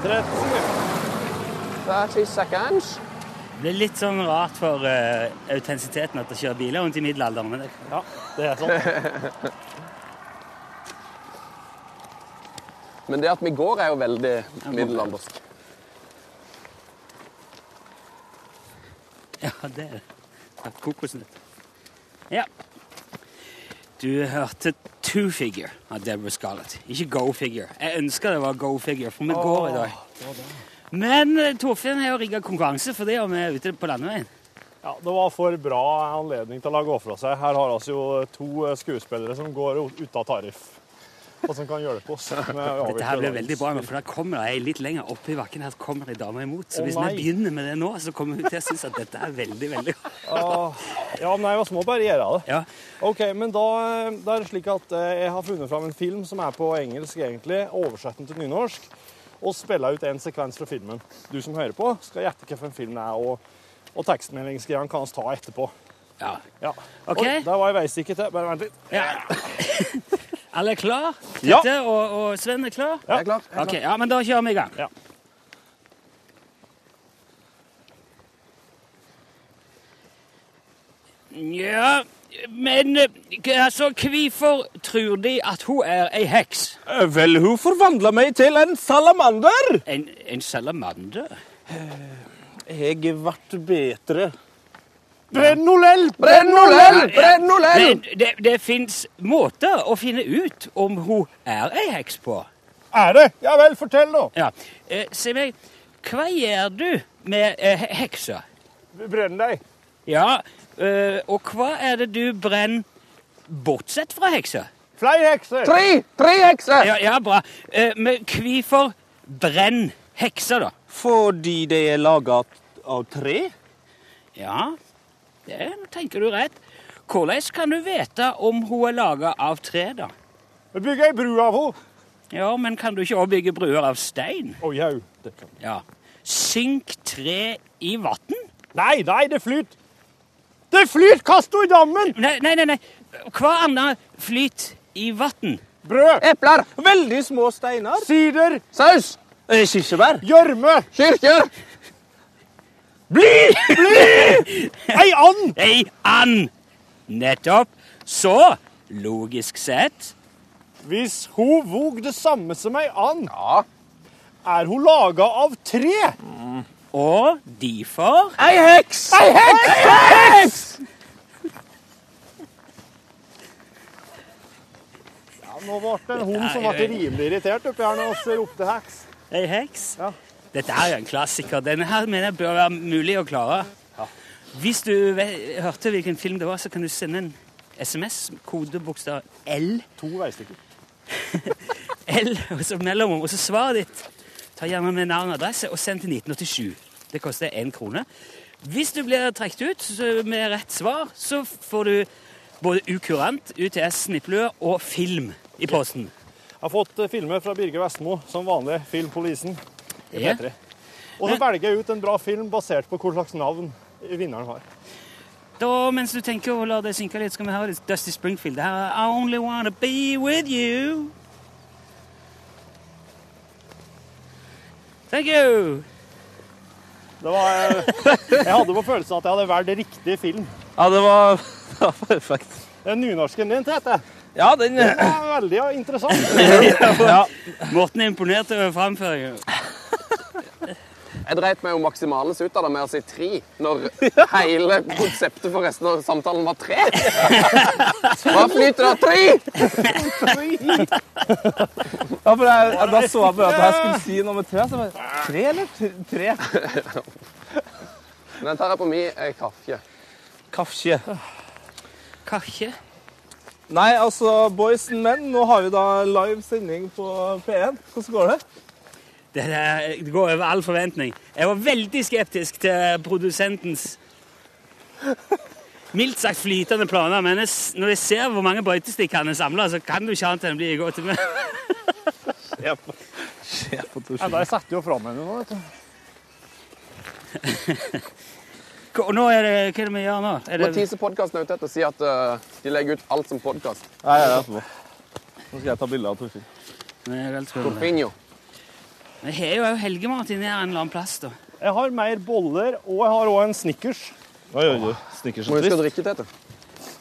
Speaker 2: 30 seconds.
Speaker 6: Det blir litt sånn rart for eh, autentisiteten at det kjører biler rundt i middelalderen. Men det,
Speaker 3: Ja, det er sånn.
Speaker 2: Men det at vi går, er jo veldig middelaldersk.
Speaker 6: ja, det er det. Det er kokosnøtt. Ja. Du hørte Two Figure av Deborah Scarlett. Ikke Go Figure. Jeg ønsker det var Go Figure, for vi går i dag. Men eh, Torfinn har jo rigga konkurranse for det, og vi er ute på landeveien.
Speaker 3: Ja, det var for bra anledning til å la gå fra seg. Her har vi jo to eh, skuespillere som går ut ut av tariff, og som kan hjelpe oss. Dette
Speaker 6: (laughs) Dette her blir veldig bra, nå, for da kommer det ei litt lenger oppe i bakken. Her kommer ei dame imot. Så
Speaker 3: Å,
Speaker 6: hvis
Speaker 3: nei.
Speaker 6: vi begynner med det nå, så kommer hun til å synes at dette er veldig, veldig
Speaker 3: Ja, men jeg må bare gjøre det.
Speaker 6: Ja.
Speaker 3: OK, men da, da er det slik at eh, jeg har funnet fram en film som er på engelsk, egentlig. Oversett den til nynorsk. Og spilla ut en sekvens fra filmen. Du som hører på, skal gjette hvilken film det er. Og, og tekstmeldingsgreiene kan vi ta etterpå.
Speaker 6: ja.
Speaker 3: Ja.
Speaker 6: OK?
Speaker 3: Oi, der var jeg veistikke til. Bare vent litt.
Speaker 6: Ja. Alle er klar?
Speaker 3: Ja.
Speaker 6: Tette og, og Sven er klar?
Speaker 2: Jeg er klar. Jeg er
Speaker 6: OK,
Speaker 2: klar.
Speaker 6: ja, men da kjører vi i gang.
Speaker 3: Ja.
Speaker 6: Ja, men eh, altså, hvorfor tror de at hun er ei heks?
Speaker 4: Eh, Vel, hun forvandla meg til en salamander.
Speaker 6: En, en salamander?
Speaker 4: Jeg ble bedre.
Speaker 3: Brennolell!
Speaker 2: Brennolell! Brennolell!
Speaker 6: Men det, det fins måter å finne ut om hun er ei heks på.
Speaker 3: Er det? Ja vel, fortell nå.
Speaker 6: Ja. Eh, si meg, hva gjør du med eh, he- heksa?
Speaker 3: Brenn deg.
Speaker 6: Ja, eh, og hva er det du brenner bortsett fra heksa?
Speaker 3: Flere hekser.
Speaker 2: Tre! Tre hekser!
Speaker 6: Ja, ja bra. Eh, men hvorfor brenn heksa, da?
Speaker 4: Fordi de er laga av tre?
Speaker 6: Ja, det nå tenker du rett. Hvordan kan du vite om hun er laga av tre, da?
Speaker 3: Bygg ei bru av henne.
Speaker 6: Ja, men kan du ikke også bygge bruer av stein?
Speaker 3: Å jau.
Speaker 6: Ja. Synk tre i vann?
Speaker 3: Nei, nei, det flyter. Det flyter! Kast henne i dammen!
Speaker 6: Nei, nei, nei. nei. Hva annet flyter i vann?
Speaker 3: Brød,
Speaker 2: Epler!
Speaker 4: Veldig små steiner.
Speaker 3: sider,
Speaker 2: Saus!
Speaker 4: Eh, Kirsebær.
Speaker 3: gjørme,
Speaker 2: Kirker!
Speaker 3: ei and!
Speaker 6: Ei and! Nettopp. Så, logisk sett
Speaker 3: Hvis hun vog det samme som ei and,
Speaker 2: Ja.
Speaker 3: er hun laga av tre.
Speaker 6: Og derfor
Speaker 2: Ei heks! Ei heks!
Speaker 3: Ja, nå ble det en hund som ble rimelig irritert oppi her når vi ropte heks.
Speaker 6: Ei heks.
Speaker 3: Ja.
Speaker 6: Dette er jo en klassiker. Denne her mener jeg bør være mulig å klare. Hvis du ve- hørte hvilken film det var, så kan du sende en SMS, kodebokstav L,
Speaker 3: To veistykker.
Speaker 6: L og så mellomrom, og så svaret ditt. Ta gjerne med navn og adresse, og send til 1987. Det koster én krone. Hvis du blir trukket ut så med rett svar, så får du både ukurant, UTS, snipplue og film i posten.
Speaker 3: Jeg har fått eh, filmer fra Birger Vestmo, som vanlig. Filmpolisen. i
Speaker 6: Ja.
Speaker 3: P3. Og så velger jeg ut en bra film basert på hva slags navn vinneren har.
Speaker 6: Da, mens du tenker og lar det synke litt, skal vi høre litt Dusty Springfield. Det her er I Only Wanna Be With You. Thank you.
Speaker 3: Det var, eh, jeg hadde på følelsen at jeg hadde valgt riktig film.
Speaker 4: Ja, det var, (laughs) det var perfekt.
Speaker 3: Den nynorsken din, Tete,
Speaker 4: Ja, den eh,
Speaker 3: den var veldig
Speaker 6: (laughs)
Speaker 3: interessant.
Speaker 6: Morten er imponert over framføringen.
Speaker 2: Jeg dreit meg jo maksimalt ut av det med å si tre,
Speaker 4: (laughs)
Speaker 2: når hele konseptet for resten av samtalen var tre. Hva flyter av tre?
Speaker 4: Ja, for jeg, jeg, Da så jeg bare at jeg skulle si noe med tre. Så jeg bare, tre eller t- tre?
Speaker 2: Den tar jeg på min eh, kaffe.
Speaker 4: Kaffe.
Speaker 6: Kakke.
Speaker 4: Nei, altså, boys and men, nå har vi da live sending på P1. Hvordan går det?
Speaker 6: Det, der- det går over all forventning. Jeg var veldig skeptisk til produsentens mildt sagt flytende planer, men jeg, s- når jeg ser hvor mange brøytestikk han har samla, så kan du ikke annet enn å bli i godt humør.
Speaker 3: Ja, de setter jo fram henne nå, vet du.
Speaker 6: Hva- Og nå er det, hva er det vi gjør nå? Er det,
Speaker 2: Mathise Podkasten er ute etter å si at eh, de legger ut alt som podkast.
Speaker 4: Nei, jeg er etterpå. Nå skal jeg ta bilde av Torfinn.
Speaker 6: Nei, det er helt skummelt.
Speaker 2: Torfinho.
Speaker 6: Vi har jo også helgemat inni her en eller annen plass, da.
Speaker 3: Jeg har mer boller, og jeg har òg en Snickers.
Speaker 4: Oi, oi, oi. Snickers
Speaker 2: Må
Speaker 4: og
Speaker 2: huske å
Speaker 4: twist.
Speaker 2: drikke til dette.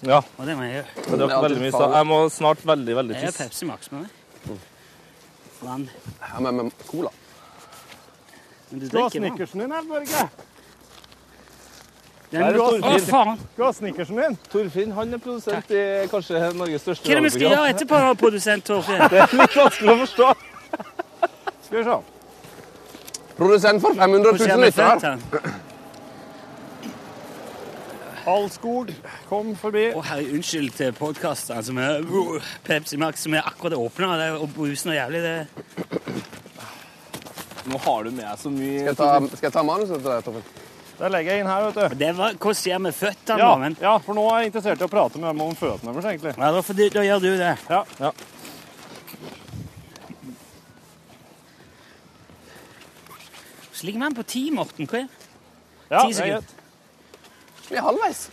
Speaker 4: Ja,
Speaker 6: Og det må jeg gjøre.
Speaker 4: jeg drakk veldig mye. i stad. Jeg må snart veldig, veldig
Speaker 6: Jeg har
Speaker 4: tisse.
Speaker 6: Pepsi Max med meg. Vann.
Speaker 2: Ja, men men cola.
Speaker 6: Men du
Speaker 3: Du har
Speaker 6: drikker vann.
Speaker 3: Snickersen din her, Børge.
Speaker 6: Den
Speaker 4: det
Speaker 6: går- Å,
Speaker 4: Torfinn.
Speaker 6: faen!
Speaker 3: Du har Snickersen din.
Speaker 4: Torfinn han er produsent i kanskje Norges største
Speaker 6: Hva er det vi
Speaker 4: (laughs)
Speaker 6: skal gjøre etterpå, da, produsent (laughs) Torfinn?
Speaker 4: Litt vanskelig å forstå.
Speaker 3: Skal vi se.
Speaker 2: Produsent for 500
Speaker 6: Hva skjer
Speaker 2: 000
Speaker 6: med
Speaker 2: lyttere.
Speaker 6: føttene?
Speaker 3: Allskog kom forbi.
Speaker 6: Å, herre, unnskyld til podkastene som er uh, Pepsi Max som er akkurat åpna, og brusen og jævlig det.
Speaker 4: Nå har du med så mye
Speaker 2: Skal jeg ta, skal jeg ta manuset til deg, Torfinn?
Speaker 3: Der legger jeg inn her, vet du.
Speaker 6: det var, hva skjer med føttene,
Speaker 3: Ja,
Speaker 6: da? Men,
Speaker 3: ja, for nå er jeg interessert i å prate med dem om føttene deres, egentlig.
Speaker 6: ja, da, får du, da gjør du det.
Speaker 3: Ja. ja.
Speaker 6: Så ligger man på ti, Morten. Hva er det? Ti
Speaker 3: det er
Speaker 6: sekunder.
Speaker 3: greit.
Speaker 2: Vi er halvveis.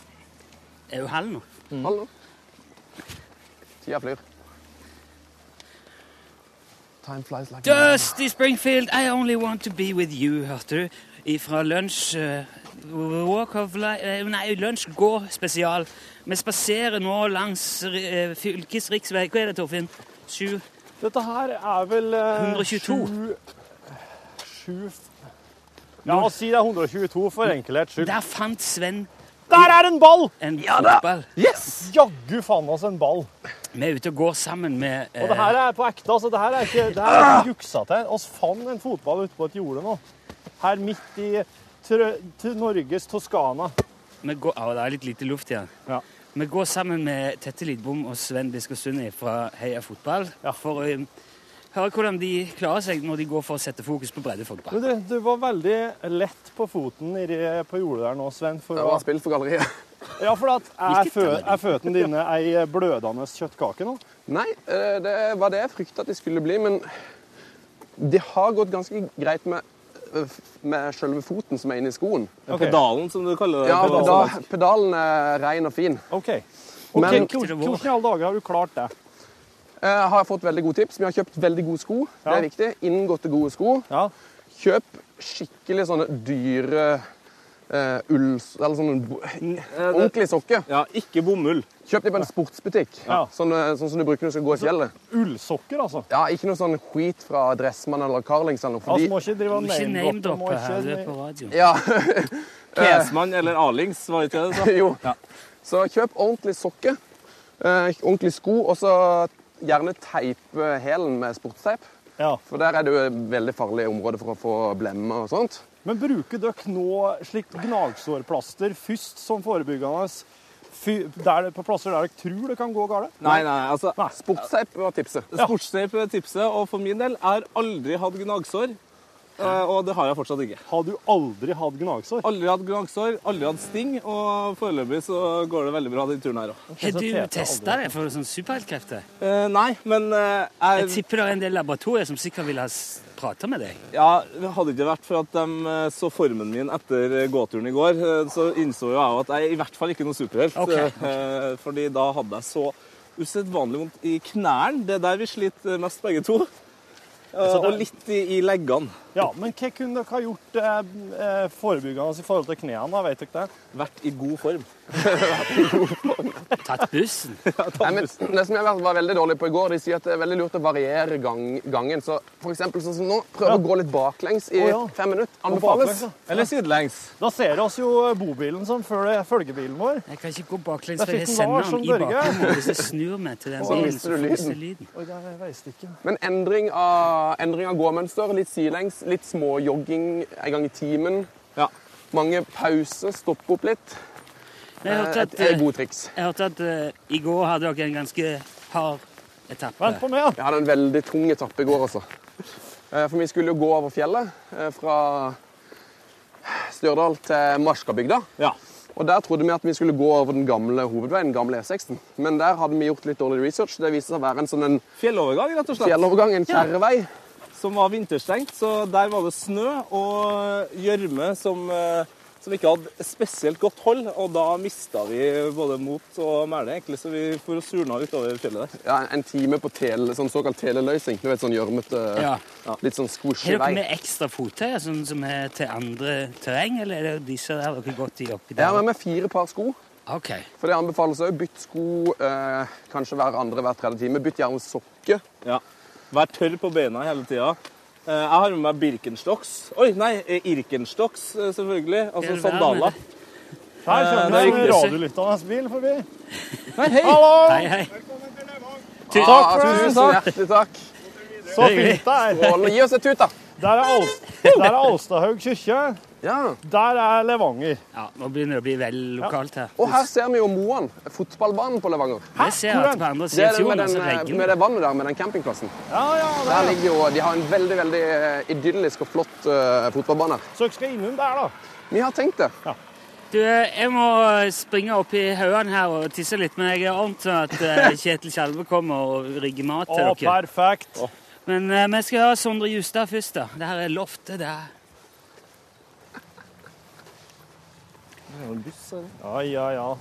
Speaker 6: Er du halv nå?
Speaker 4: Mm.
Speaker 2: Halv nå. Tida flyr. Time flies like a
Speaker 6: Dusty Springfield, I only want to be with you, hørte du. Fra lunsj eh, Walk of Life Nei, lunsj går spesial. Vi spaserer nå langs uh, fylkesriksvei Hva er det, Torfinn? Sju?
Speaker 3: Dette her er vel eh,
Speaker 6: 122.
Speaker 3: Sju, sju Ja, og si det er 122 for enkelhets skyld.
Speaker 6: Der fant Sven
Speaker 3: Der er en ball!
Speaker 6: en fotball.
Speaker 3: Jaggu faen oss en ball.
Speaker 6: Vi er ute og går sammen med
Speaker 3: Og det her er på ekte, altså. Det her er ikke, det her er ikke juksa til. Oss fant en fotball ute på et jorde nå. Her midt i Trø til Norges Toskana.
Speaker 6: eh, vi går, Å, det er litt lite luft igjen.
Speaker 3: Ja.
Speaker 6: Vi går sammen med Tette Lidbom og Sven Biskosund fra Heia Fotball
Speaker 3: Ja.
Speaker 6: for å eh, høre hvordan de klarer seg når de går for å sette fokus på breddefotball.
Speaker 3: Men du, du var veldig lett på foten nedi på jordet der nå, Sven. For
Speaker 2: Det
Speaker 3: å,
Speaker 2: var spill for galleriet.
Speaker 3: ja, for at er,
Speaker 6: Hvilket
Speaker 3: fø,
Speaker 6: er det?
Speaker 3: er føttene dine ei blødende kjøttkake nå?
Speaker 2: Nei, eh, det var det jeg frykta at de skulle bli, men det har gått ganske greit med, eh, med selve foten som er inni skoen.
Speaker 3: Ok.
Speaker 4: Pedalen, som du kaller det.
Speaker 2: Ja,
Speaker 4: Pedalen.
Speaker 2: peda- pedalen er rein og fin.
Speaker 3: OK.
Speaker 2: Men-
Speaker 3: Men hvordan i alle dager har du klart det?
Speaker 2: Jeg har fått veldig gode tips. Vi har kjøpt veldig gode sko. Det
Speaker 3: Ja.
Speaker 2: er viktig. Inngåtte gode sko.
Speaker 3: Ja.
Speaker 2: Kjøp skikkelig sånne dyre eh, ull... Eller sånne bo- (laughs) ordentlige sokker.
Speaker 4: Ja, ikke bomull.
Speaker 2: Kjøp dem på en sportsbutikk.
Speaker 3: Ja.
Speaker 2: Sånne, sånn som du bruker når du skal gå i fjellet.
Speaker 3: Ullsokker, altså.
Speaker 2: Ja, Ikke noe sånn skit fra Dressmann eller Carlings eller noe.
Speaker 3: Altså,
Speaker 2: Fordi,
Speaker 3: må ikke drive
Speaker 6: Du
Speaker 3: og
Speaker 6: må ikke
Speaker 3: name-droppe.
Speaker 6: name-droppe
Speaker 3: må
Speaker 6: her du er
Speaker 3: ikke-
Speaker 6: på eh, radio.
Speaker 2: ja,
Speaker 4: Pesmann eller Alings, var det ikke det du sa?
Speaker 2: (laughs) jo.
Speaker 4: Ja.
Speaker 2: Så kjøp ordentlige sokker. Eh, ordentlige sko. Og så gjerne teipe hælen med sportsteip.
Speaker 3: Ja.
Speaker 2: For der er det jo et veldig farlig område for å få blemmer og sånt.
Speaker 3: Men bruker dere nå slikt gnagsårplaster først som forebyggende fy- der, på plasser der dere tror det kan gå galt?
Speaker 4: (laughs) Nei, nei, altså
Speaker 2: Sportsteip var tipset.
Speaker 4: Sportsnape er tipset, og for min del jeg har aldri hatt gnagsår. eh, Og det har jeg fortsatt ikke.
Speaker 3: Har du aldri hatt gnagsår?
Speaker 4: Aldri hatt gnagsår, aldri hatt sting, og foreløpig så går det veldig bra den turen her òg.
Speaker 6: Har
Speaker 3: så
Speaker 6: du
Speaker 3: tete
Speaker 6: testa det for sånn superheltkrefter?
Speaker 4: Eh, nei, men eh,
Speaker 6: Jeg
Speaker 4: jeg,
Speaker 6: tipper det er en del laboratorier som sikkert vil ha s- prata med deg.
Speaker 4: ja, hadde det ikke vært for at de eh, så formen min etter eh, gåturen i går, eh, så innså jo jeg at jeg er i hvert fall ikke noe superhelt.
Speaker 6: Ok, ok.
Speaker 4: eh, Fordi da hadde jeg så usedvanlig vondt i knærne. Det er der vi sliter mest, begge to. Eh, Og litt i, i leggene.
Speaker 3: Ja, men hva kunne dere ha gjort eh, eh, forebyggende i forhold til knærne? da, Vet dere det?
Speaker 4: Vært i god form.
Speaker 6: Tatt bussen.
Speaker 2: Nei, men det som jeg var- var veldig dårlig på i går, de sier at det er veldig lurt å variere gang, gangen. Så for eksempel sånn som nå, prøv å gå litt baklengs i
Speaker 3: Å, ja.
Speaker 2: fem minutter.
Speaker 3: baklengs,
Speaker 2: Anbefales.
Speaker 3: ja.
Speaker 4: Eller sidelengs.
Speaker 3: Da ser vi oss jo bobilen som følger følgebilen vår.
Speaker 6: (laughs) Jeg kan ikke gå baklengs,
Speaker 3: Der
Speaker 6: for jeg
Speaker 3: fikk den
Speaker 6: sender
Speaker 3: Lars
Speaker 6: den
Speaker 3: som
Speaker 6: i
Speaker 3: Børge.
Speaker 6: bakgrunnen. Hvis jeg snur meg til den
Speaker 2: Så
Speaker 6: bilen,
Speaker 2: mister
Speaker 6: så
Speaker 2: du
Speaker 6: mister lyden.
Speaker 3: Oi, der er veistikken.
Speaker 2: Men endring av, endring av gåmønster, litt sidelengs, litt småjogging en gang i timen.
Speaker 4: Ja.
Speaker 2: Mange pauser, stoppe opp litt.
Speaker 6: Men jeg hørte
Speaker 2: Et,
Speaker 6: at,
Speaker 2: et
Speaker 6: eh,
Speaker 2: godt triks.
Speaker 6: jeg hørte at eh, i går hadde dere en ganske hard etappe.
Speaker 3: Vent på meg, ja.
Speaker 2: Jeg hadde en veldig tung etappe i går, altså. Eh, For vi skulle jo gå over fjellet eh, fra Stjørdal til Marskabygda.
Speaker 3: Ja.
Speaker 2: Og der trodde vi at vi skulle gå over den gamle hovedveien, den gamle E16. Men der hadde vi gjort litt dårlig research. Det viste seg å være en sånn en
Speaker 4: Fjellovergang, rett og slett.
Speaker 2: fjellovergang, en kjerrevei.
Speaker 4: som var vinterstengt, så der var det snø og gjørme som, eh, som ikke hadde spesielt godt hold, og da mista vi både mot og mæle, egentlig, så vi for å surna utover fjellet der.
Speaker 2: Ja, en time på tele, sånn såkalt teleløsing. Du vet, sånn gjørmete,
Speaker 6: Ja.
Speaker 2: litt sånn
Speaker 6: Har
Speaker 2: squishy
Speaker 6: dere
Speaker 2: vei.
Speaker 6: med ekstra fottøy sånn som er til andre terreng, eller er det disse der dere har gått i oppi
Speaker 2: Jeg har
Speaker 6: der?
Speaker 2: med meg fire par sko,
Speaker 6: Ok.
Speaker 2: for det anbefales òg. Bytt sko eh, kanskje hver andre, hver tredje time. Bytt gjerne sokke.
Speaker 4: Ja. Vær tørr på beina hele tida. Eh, Jeg har med meg Birkenstocks Oi, nei, eh, Irkenstocks, eh, selvfølgelig.
Speaker 6: Er
Speaker 4: Altså
Speaker 6: du vel
Speaker 4: sandaler.
Speaker 6: med
Speaker 3: Her
Speaker 4: det
Speaker 3: kommer
Speaker 4: er
Speaker 3: det en
Speaker 4: riktig.
Speaker 3: radiolytternes bil forbi.
Speaker 4: Nei, hei!
Speaker 6: Hei, hei.
Speaker 2: Ah,
Speaker 3: for det.
Speaker 2: tusen hjertelig takk.
Speaker 3: Så fint det er.
Speaker 2: Strålende. Gi oss et tut, da.
Speaker 3: Der er, Alst der er Alstahaug kirke.
Speaker 2: Ja.
Speaker 3: Der er Levanger.
Speaker 6: Ja, nå begynner det å bli vel lokalt her.
Speaker 2: Og her ser vi jo Moan, fotballbanen på Levanger.
Speaker 6: Jeg ser at på andre
Speaker 2: Det er
Speaker 6: siden av
Speaker 2: den med,
Speaker 6: fjorden
Speaker 2: den,
Speaker 6: så
Speaker 2: eh,
Speaker 6: legger
Speaker 2: med det vannet der, med den campingplassen.
Speaker 3: Ja, ja, der.
Speaker 2: Der ligger jo, De har en veldig veldig eh, idyllisk og flott eh, fotballbane. her.
Speaker 3: Så dere skal innom der, da.
Speaker 2: Vi har tenkt det.
Speaker 6: Du, jeg må springe opp i haugene her og tisse litt, men jeg er ordent sånn at
Speaker 2: (laughs)
Speaker 6: eh, Kjetil Kjelve kommer og rigger mat
Speaker 3: Å,
Speaker 6: til dere.
Speaker 3: perfekt.
Speaker 6: Men eh, vi skal høre Sondre Justad først, da. Det her er loftet der.
Speaker 3: Ja, ja, ja.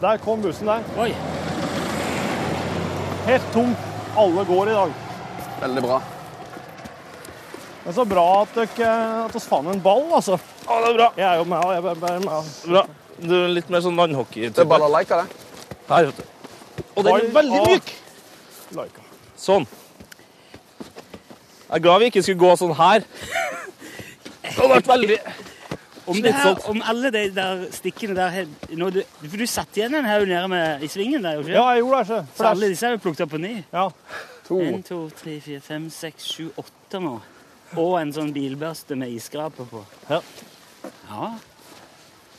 Speaker 3: Der kom bussen der.
Speaker 6: Oi,
Speaker 3: Helt tom. Alle går i dag.
Speaker 2: Veldig bra.
Speaker 3: Men så bra at dere at oss fant en ball, altså.
Speaker 4: Å, det er bra.
Speaker 3: Jeg er jo med, og jeg er bare med.
Speaker 4: bra. Du er litt mer sånn landhockey.
Speaker 2: Det er balalaika, det.
Speaker 4: Her, vet du. Og den er
Speaker 3: Ball
Speaker 4: veldig
Speaker 3: og-
Speaker 4: myk!
Speaker 3: Like.
Speaker 4: Sånn. Jeg er glad vi ikke skulle gå sånn her. Det hadde vært veldig sånn-
Speaker 6: om, det her,
Speaker 2: sånn-
Speaker 6: om alle de der stikkene der he- nå, du, For du satt igjen en haug nede med, i svingen der, jo ikke
Speaker 3: Ja, jeg gjorde det, sjø.
Speaker 6: Så alle disse er jo plukket opp på ny.
Speaker 3: Ja. (laughs)
Speaker 2: To.
Speaker 6: En, to, tre, fire, fem, seks, sju, åtte nå. Og en sånn bilbørste med isskrape på.
Speaker 3: Ja.
Speaker 6: Ja.
Speaker 2: Bare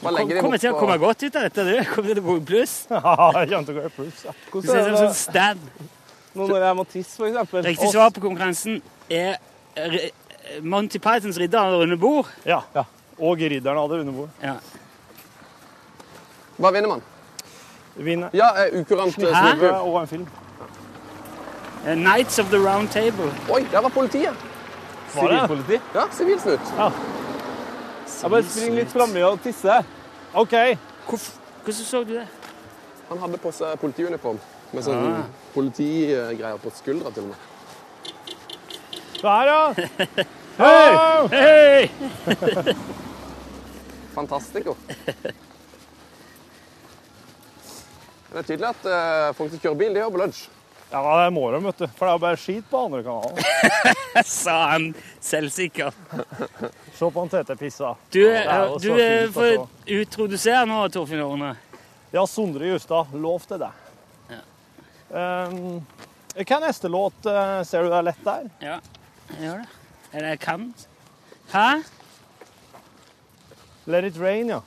Speaker 6: Kom,
Speaker 2: legger dem
Speaker 6: kommer til å
Speaker 2: opp
Speaker 6: komme
Speaker 2: og-
Speaker 6: godt ut av dette, du. Kommer til å gå i pluss.
Speaker 3: Jeg kommer til å gå i pluss. ja.
Speaker 6: Du ser ut som en stand.
Speaker 4: Nå når jeg må tisse, for eksempel.
Speaker 6: Riktig svar på konkurransen er eh, Monty Pythons ridder av runde bord.
Speaker 3: Ja. Og ridderne hadde underbord.
Speaker 6: Ja.
Speaker 2: Hva vinner man?
Speaker 3: Vinner.
Speaker 2: Ja, eh, ukurant eh,
Speaker 6: Hæ?
Speaker 2: snøfugl.
Speaker 3: Og en film.
Speaker 6: Eh, Knights of the Round Table.
Speaker 2: Oi, der var politiet.
Speaker 3: Var det?
Speaker 4: Sivilpoliti.
Speaker 2: Ja, sivilsnutt.
Speaker 4: Jeg bare springer litt framme og tisser.
Speaker 3: OK.
Speaker 6: Hvorf- Hvordan så du det?
Speaker 2: Han hadde på seg politiuniform med sånn
Speaker 6: Ah.
Speaker 2: politigreier på skuldra til og med.
Speaker 3: Der, ja. Hei!
Speaker 6: Hei!
Speaker 2: Fantastico. Det er tydelig at eh, folk som kjører bil, de har på lunsj.
Speaker 3: Ja, det må de, vet du. For det er jo bare skit på andre kanalen.
Speaker 6: Sa han selvsikker.
Speaker 3: Se på han Tete pissa.
Speaker 6: Du,
Speaker 3: det er jo
Speaker 6: du
Speaker 3: så
Speaker 6: eh,
Speaker 3: fint,
Speaker 6: får
Speaker 3: altså.
Speaker 6: utrodusere nå, Torfinn Orne.
Speaker 3: Ja, Sondre Justad, lov til deg.
Speaker 6: Ja.
Speaker 3: Um, hva er neste låt? eh, Ser du det er lett der?
Speaker 6: Ja, jeg gjør det. Eller jeg kan. Hæ?
Speaker 3: Let it rain, ja.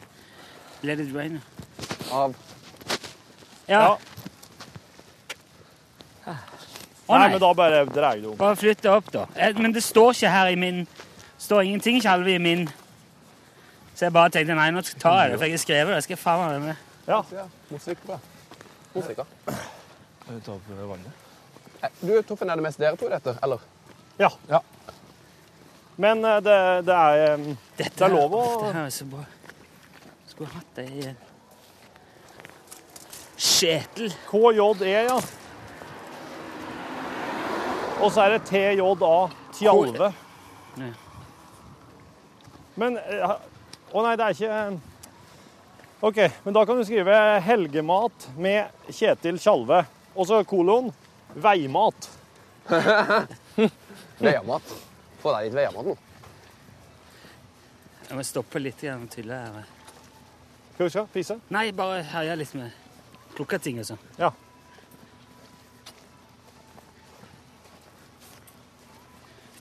Speaker 6: Let it rain.
Speaker 2: Av
Speaker 6: Ja.
Speaker 3: Ja.
Speaker 6: Å
Speaker 3: nei.
Speaker 6: nei,
Speaker 3: men da bare dreier du om.
Speaker 6: bare flytt det opp, da. Eh, Men det står ikke her i min står ingenting Kjalve, i min Så jeg bare tenkte nei, nå tar jeg det, for jeg har skrevet det. Jeg skal faen meg være med.
Speaker 3: Ja.
Speaker 2: musikkbra. Musikker. Eh, Du, Toffen, er det mest dere to i dette, eller?
Speaker 3: ja.
Speaker 2: Ja.
Speaker 3: Men eh, det, det er em, Det
Speaker 6: Dette
Speaker 3: er lov
Speaker 6: her-
Speaker 3: å-
Speaker 6: Dette her er så bra. Skulle hatt det i Kjetil.
Speaker 3: KJE, E, ja. Og så er det TJA, Tjalve.
Speaker 6: Ja.
Speaker 3: Men eh, Å nei, det er ikke eh, OK, men da kan du skrive 'Helgemat med Kjetil Tjalve'. Og så kolon 'Veimat'.
Speaker 2: Veiamat. Få deg litt veiamat nå.
Speaker 6: Jeg må stoppe litt grann og tylle her.
Speaker 3: Skal vi se? Pise?
Speaker 6: Nei, bare herje litt med plukka ting og sånn.
Speaker 3: Ja.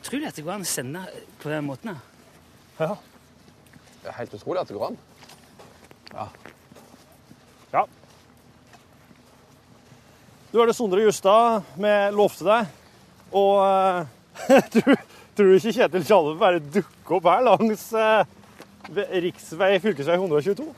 Speaker 6: Utrolig at det går an å sende på den måten. her.
Speaker 3: ja.
Speaker 2: Det er helt utrolig at det går an.
Speaker 3: Ja. Du er det Sondre Justad vi lovte deg. Og eh, (laughs) tror, tror du ikke Kjetil Tjalve bare dukker opp her langs eh, ve- riksvei, fylkesvei 122?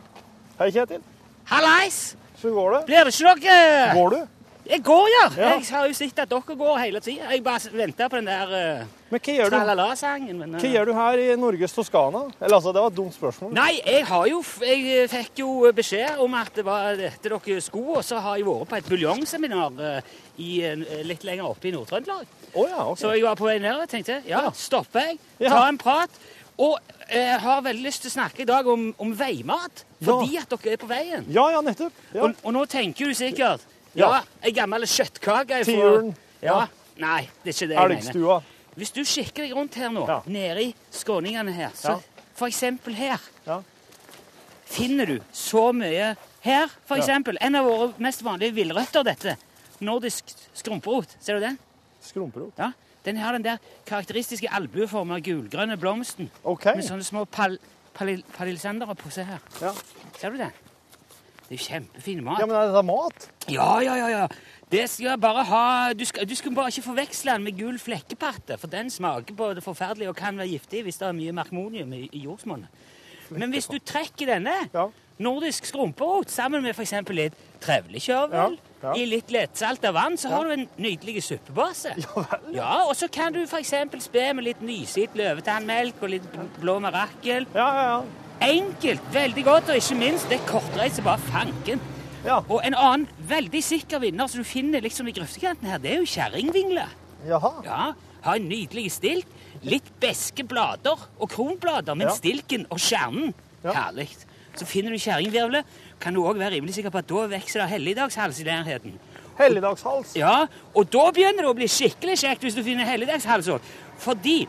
Speaker 3: Hei, Kjetil.
Speaker 6: Hallais!
Speaker 3: Så går det.
Speaker 6: Blir det ikke noe
Speaker 3: Går du?
Speaker 6: Jeg går, ja.
Speaker 3: Ja.
Speaker 6: Jeg har jo sett at dere går hele tida. Jeg bare venter på den der uh,
Speaker 3: Men hva gjør du,
Speaker 6: tralala-sangen. Men, eh,
Speaker 3: hva gjør du her i Norges Toskana? Eller altså, det var et dumt spørsmål.
Speaker 6: Nei, jeg har jo f- Jeg eh, fikk jo beskjed om at det var dette dere skulle, og så har jeg vært på et buljongseminar eh, i, eh, litt lenger oppe i Nord-Trøndelag.
Speaker 3: Å ja, ok.
Speaker 6: Så jeg var på vei ned og tenkte ja, stopper jeg,
Speaker 3: Ja.
Speaker 6: ta en prat. Og eh, har veldig lyst til å snakke i dag om, om veimat, fordi at dere er på veien.
Speaker 3: Ja, ja, nettopp. Ja.
Speaker 6: Og, og nå tenker du sikkert
Speaker 3: Ja.
Speaker 6: Ja, ei gammel kjøttkake fra
Speaker 3: Tiuren.
Speaker 6: Ja.
Speaker 3: Ja.
Speaker 6: Nei, det er ikke det jeg mener.
Speaker 3: Elgstua.
Speaker 6: Hvis du kikker deg rundt her nå,
Speaker 3: Ja.
Speaker 6: nede i skåningene her, så
Speaker 3: Ja.
Speaker 6: for eksempel her
Speaker 3: Ja.
Speaker 6: Finner du så mye her, for
Speaker 3: Ja.
Speaker 6: eksempel? En av våre mest vanlige villrøtter, dette. Nordisk skrumperot. Ser du den?
Speaker 3: Skrumperot.
Speaker 6: Ja. Den har den der karakteristiske albueforma gulgrønne blomsten
Speaker 3: OK.
Speaker 6: med sånne små pal palil palisandere på. Se her.
Speaker 3: Ja.
Speaker 6: Ser du den? Det er jo kjempefin mat.
Speaker 3: ja, men er det mat?
Speaker 6: Ja, ja, ja, ja. Det skal jeg bare ha Du skal, du skal bare ikke forveksle den med gul flekkepatte, for den smaker både forferdelig og kan være giftig hvis det er mye markmonium i, i jordsmonnet. Men hvis du trekker denne,
Speaker 3: Ja.
Speaker 6: nordisk skrumperot, sammen med f.eks. litt trevlekjørvel
Speaker 3: Ja, ja.
Speaker 6: i litt lettsalta vann, så har du en nydelig suppebase. Ja, og så kan du f.eks. spe med litt nysitt løvetannmelk og litt bl- blå marakel.
Speaker 3: Ja, ja, ja.
Speaker 6: Enkelt, veldig godt, og ikke minst, det er kortreist som bare fanken.
Speaker 3: Ja.
Speaker 6: Og en annen veldig sikker vinner som du finner liksom i grøftekanten her, det er jo kjerringvingle.
Speaker 3: Jaha.
Speaker 6: Ja, har en nydelig stilk, litt beske blader og kronblader, men
Speaker 3: Ja.
Speaker 6: stilken og kjernen, herlig. Så finner du kjerringvirvle, kan du også være rimelig sikker på at da vokser det helligdagshals i nærheten.
Speaker 3: Helligdagshals.
Speaker 6: Ja, og da begynner det å bli skikkelig kjekt hvis du finner helligdagshalshold. Fordi,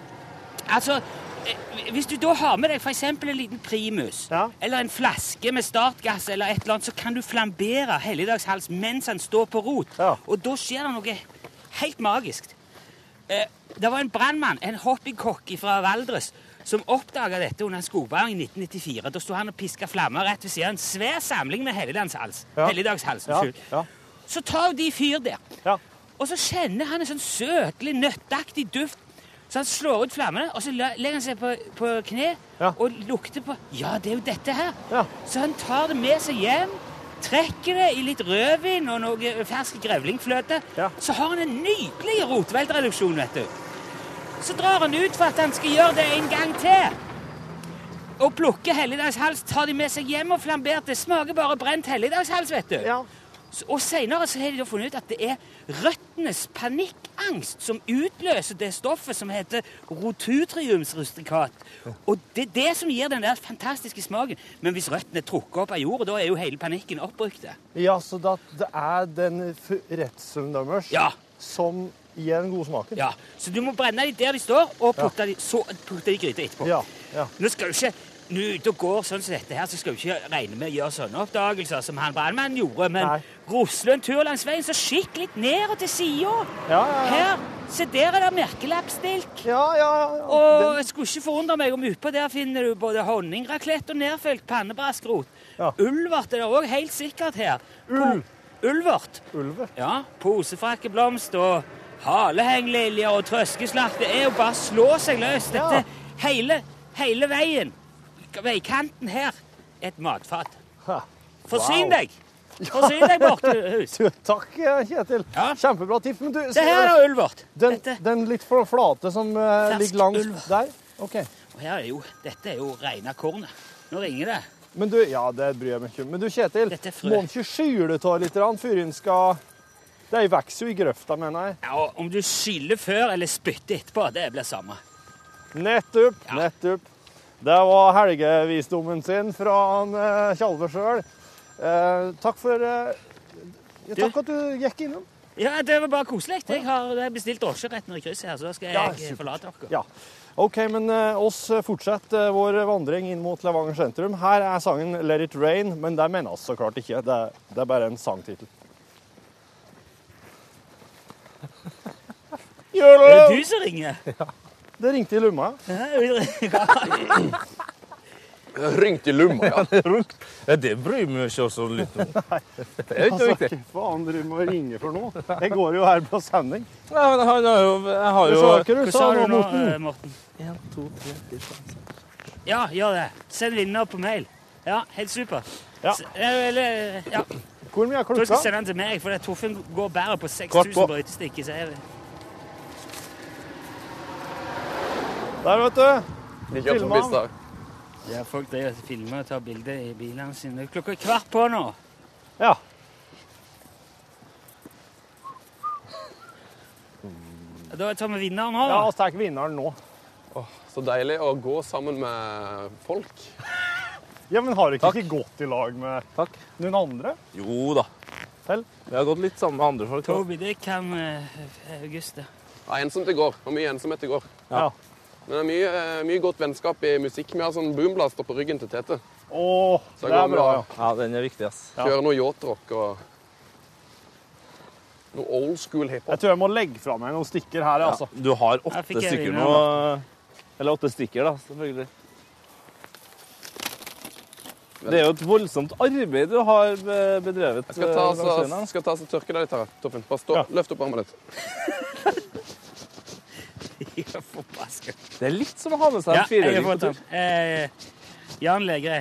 Speaker 6: altså, eh, hvis du da har med deg for eksempel en liten primus,
Speaker 3: Ja.
Speaker 6: eller en flaske med startgass eller et eller annet, så kan du flambere helligdagshals mens han står på rot.
Speaker 3: Ja.
Speaker 6: Og da skjer det noe helt magisk. Eh, Det var en brandmann, en hobbykokk fra Valdres, som oppdaga dette under en skogbrand i 1994. Da sto han og piska flammer rett ved siden av en svær samling med helligdagshals.
Speaker 3: Ja.
Speaker 6: helligdagshals
Speaker 3: Ja,
Speaker 6: unnskyld.
Speaker 3: ja.
Speaker 6: Så tar de fyr der.
Speaker 3: Ja.
Speaker 6: Og så kjenner han en sånn søtlig, nøttaktig duft. Så han slår ut flammene, og så la- legger han seg på, på kne
Speaker 3: Ja.
Speaker 6: og lukter på Ja, det er jo dette her.
Speaker 3: Ja.
Speaker 6: Så han tar det med seg hjem, trekker det i litt rødvin og noe fersk grevlingfløte.
Speaker 3: Ja.
Speaker 6: Så har han en nydelig rotveltreduksjon, vet du. Så drar han ut for at han skal gjøre det en gang til. Og plukker helligdagshals, tar de med seg hjem og flambert. Det smaker bare brent helligdagshals, vet du.
Speaker 3: Ja.
Speaker 6: S- Og senere så har de da funnet ut at det er røttenes panikkangst som utløser det stoffet som heter rotutriumsrustikat. Og det er det som gir den der fantastiske smaken. Men hvis røttene er trukket opp av jorda, da er jo hele panikken oppbrukt.
Speaker 3: Ja, så da, det er den f- redselen deres
Speaker 6: Ja.
Speaker 3: som gir den gode smaken?
Speaker 6: Ja, Så du må brenne de der de står, og putte de, så putte de i gryta etterpå.
Speaker 3: Ja, ja.
Speaker 6: Nå skal du ikke nå er du ute og går sånn som dette her, så skal du ikke regne med å gjøre sånne oppdagelser som han brannmannen gjorde, men
Speaker 3: Nei.
Speaker 6: rusle en tur langs veien, så kikk litt ned og til sida.
Speaker 3: Ja, ja, ja.
Speaker 6: Her, se der er det merkelappstilk.
Speaker 3: Ja, ja, ja.
Speaker 6: Og
Speaker 3: Den,
Speaker 6: jeg skulle ikke forundre meg om utpå der finner du både honningraklett og nedfelt pannebraskrot.
Speaker 3: Ja.
Speaker 6: Ulvert er det òg helt sikkert her.
Speaker 3: Ulv.
Speaker 6: Ulvert.
Speaker 3: ulvet.
Speaker 6: Ja, posefrakkeblomst og halehengliljer og trøskeslakt. Det er jo bare å slå seg løs. Dette
Speaker 3: Ja.
Speaker 6: hele, hele veien, veikanten her, et matfat.
Speaker 3: Ha. (laughs) Wow.
Speaker 6: Forsyn deg! Forsyn deg,
Speaker 3: (laughs)
Speaker 6: Bortehus.
Speaker 3: Du, Takk, Kjetil.
Speaker 6: Ja.
Speaker 3: Kjempebra tips. Men du,
Speaker 6: Det her er ulvert.
Speaker 3: den,
Speaker 6: Dette.
Speaker 3: den litt for flate som eh,
Speaker 6: Fersk
Speaker 3: ligger langs
Speaker 6: ulv.
Speaker 3: der? OK.
Speaker 6: Og her er jo, dette er jo reina kornet. Nå ringer det.
Speaker 3: Men du, ja, det bryr jeg meg ikke om. Men du, Kjetil,
Speaker 6: Dette er frø.
Speaker 3: må en ikke skyle av litt grann før en skal De vokser jo i grøfta, mener jeg.
Speaker 6: Ja, og om du skyller før eller spytter etterpå, det blir samme.
Speaker 3: Nettopp,
Speaker 6: Ja.
Speaker 3: nettopp. Det var helgevisdommen sin fra han eh, Tjalve sjøl. Eh, takk for eh, ja,
Speaker 6: Du-
Speaker 3: Takk at du gikk innom.
Speaker 6: Ja, det var bare koselig. Jeg har bestilt drosje rett ned i krysset her, så da skal
Speaker 3: Ja,
Speaker 6: jeg
Speaker 3: supert.
Speaker 6: forlate dere.
Speaker 3: Ja. OK, men eh, oss fortsetter eh, vår vandring inn mot Levanger sentrum. Her er sangen 'Let it rain', men det mener vi så klart ikke. Det er, det er bare en sangtittel.
Speaker 6: Er
Speaker 3: Jolo!
Speaker 6: (laughs) det du som ringer?
Speaker 3: Det ringte i lomma.
Speaker 6: Ja,
Speaker 2: Rynk i lumma, ja.
Speaker 4: Rundt. Ja, det bryr vi oss ikke så litt om.
Speaker 2: Det er jo ikke viktig.
Speaker 3: Hva faen driver du med å ringe for nå? Jeg går jo her på sending.
Speaker 4: Ja, men han har jo, jeg
Speaker 3: Du
Speaker 4: har jo
Speaker 3: sa ikke du
Speaker 6: Hva
Speaker 3: sa
Speaker 6: sa du
Speaker 3: nå,
Speaker 6: nå,
Speaker 3: Morten?
Speaker 6: eh, Morten? Ja, gjør det. Send vinner på mail. Ja, helt super.
Speaker 3: Ja.
Speaker 6: S- eh, Eller, ja.
Speaker 3: Hvor mye er
Speaker 6: Du skal
Speaker 3: klokka?
Speaker 6: sende den til meg, for det er Torfinn går bare på 6000
Speaker 4: Kvart på.
Speaker 6: brøytestikker. Så jeg,
Speaker 3: Der, vet du.
Speaker 2: De kjører på pista.
Speaker 6: ja, folk driver og filmer og tar bilder i bilene sine. Klokka er kvart på nå.
Speaker 3: Ja.
Speaker 6: Da tar vi vinneren nå.
Speaker 3: Ja, altså.
Speaker 6: da.
Speaker 3: vi tar vinneren nå.
Speaker 2: Så deilig å gå sammen med folk.
Speaker 3: Ja, men har dere ikke gått i lag med
Speaker 4: Takk.
Speaker 3: noen andre?
Speaker 4: Jo da.
Speaker 3: Vel?
Speaker 4: Vi har gått litt sammen med andre folk. da.
Speaker 6: Toby, det kan eh, August. det.
Speaker 2: Ja, ensomt i går. Det var mye ensomhet i går.
Speaker 3: Ja.
Speaker 2: Men det er mye, eh, mye godt vennskap i musikk. Vi har sånn boomblaster på ryggen til Tete.
Speaker 3: Åh,
Speaker 2: Så
Speaker 3: det
Speaker 2: går
Speaker 3: er
Speaker 2: vi
Speaker 3: bra,
Speaker 2: og
Speaker 3: ja.
Speaker 4: Ja, den er viktig, ass.
Speaker 3: Ja.
Speaker 2: Kjører noe yacht-rock og noe old school hiphop.
Speaker 3: Jeg tror jeg må legge fra meg noen stikker her, altså.
Speaker 4: Du har åtte
Speaker 6: Jeg fikk en
Speaker 4: stykker
Speaker 6: vinner,
Speaker 4: nå. Eller åtte stykker, da, selvfølgelig. Det er jo et voldsomt arbeid du har be- bedrevet. eh,
Speaker 2: Jeg skal ta,
Speaker 4: altså,
Speaker 2: så, skal ta så tørke deg litt her, Torfinn. Bare stå,
Speaker 3: Ja.
Speaker 2: Løft opp armen litt.
Speaker 6: Ja, forbaska.
Speaker 4: Det er litt som å ha med seg en
Speaker 6: Ja, jeg har
Speaker 4: firehjuling på
Speaker 6: fått den.
Speaker 4: tur.
Speaker 6: Eh, Jan Legrei.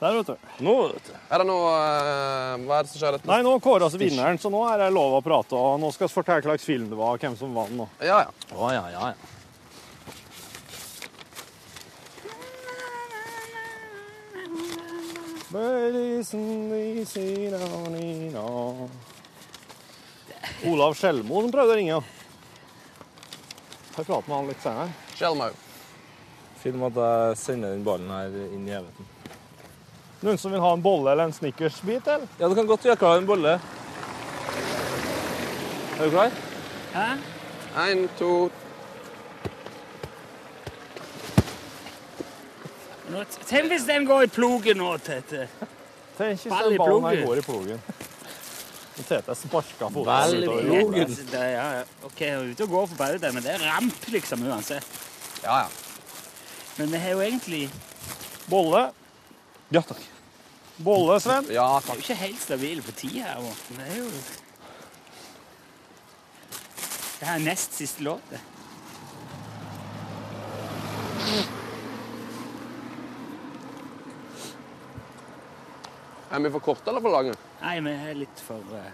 Speaker 3: Der, vet du.
Speaker 4: Nå, vet du.
Speaker 2: Er det noe eh, Hva er det som skjer dette?
Speaker 3: Nei, nå kåres vinneren, så nå er det lov å prate. Og nå skal vi fortelle hva slags film det var, og hvem som vant. Og.
Speaker 2: Ja, ja.
Speaker 4: Å, ja, ja, ja.
Speaker 3: Olav Skjelmo som prøvde å ringe. Får jeg prate med han litt senere?
Speaker 2: Skjelmau.
Speaker 4: Film at jeg sender den ballen her inn i evigheten.
Speaker 3: Noen som vil ha en bolle eller en snickersbit, eller?
Speaker 4: Ja, du kan godt gjøre klar en bolle. Er du klar?
Speaker 6: Hæ?
Speaker 2: Én, to
Speaker 6: Nå- Tenk hvis den går i plogen nå, Tete.
Speaker 3: Tenk hvis
Speaker 6: Ball
Speaker 3: den
Speaker 6: i
Speaker 3: ballen
Speaker 6: plogen.
Speaker 3: her går i plogen. Og Tete sparka
Speaker 4: Ball
Speaker 3: foten
Speaker 4: i
Speaker 3: utover.
Speaker 4: plogen.
Speaker 6: Ja, altså, det er- ja, ja. OK, jeg er ute og går for bare det, men det er ramp liksom uansett.
Speaker 2: Ja, ja.
Speaker 6: Men vi har jo egentlig
Speaker 3: Bolle.
Speaker 4: Ja takk.
Speaker 3: Bolle, Sven.
Speaker 2: Ja,
Speaker 6: vi er
Speaker 2: takk.
Speaker 6: jo ikke helt stabile på tid her, Morten. Det er jo Det her er nest siste låt, det.
Speaker 2: Er vi for korte eller for lange?
Speaker 6: Nei, vi er litt for eh,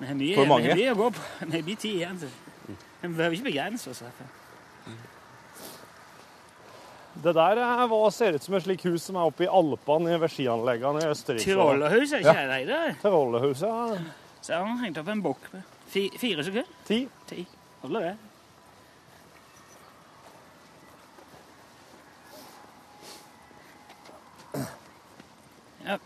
Speaker 6: Vi har mye,
Speaker 4: For mange?
Speaker 6: Vi har mye å gå på. Vi har mye tid igjen. så- Men vi behøver ikke begrense oss. i hvert fall.
Speaker 3: Det der er hva ser ut som et slikt hus som er oppe i Alpene ved skianleggene i Østerrike.
Speaker 6: Trollerhus, er ikke det det?
Speaker 3: Trollehuset, ja.
Speaker 6: Så har han hengt opp en bok med Fi- fire sekunder.
Speaker 3: Ti.
Speaker 6: Ti. Holder det? Ja.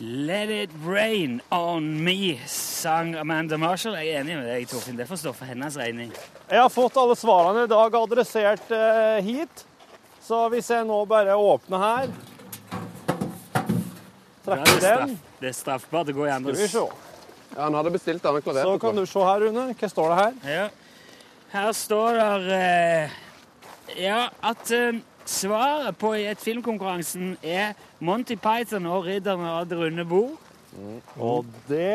Speaker 6: Let it rain on me, sang Amanda Marshall. Jeg er enig med deg, Torfinn. Det får stå for hennes regning.
Speaker 3: Jeg har fått alle svarene i dag adressert eh, hit. Så hvis jeg nå bare åpner her
Speaker 6: Ja, det,
Speaker 3: Trekker
Speaker 6: er
Speaker 3: den.
Speaker 6: straff. det er straffbart å gå
Speaker 3: Skal
Speaker 6: i
Speaker 3: vi
Speaker 6: andres
Speaker 3: se.
Speaker 2: Ja, Han hadde bestilt det, han har
Speaker 3: Så
Speaker 2: klarert
Speaker 3: kan
Speaker 2: det.
Speaker 3: du se her, Rune. Hva står det her?
Speaker 6: Ja. Her står det Ja, at eh, svaret på i et filmkonkurransen er Monty Python og Ridderne av det runde bord.
Speaker 3: Og det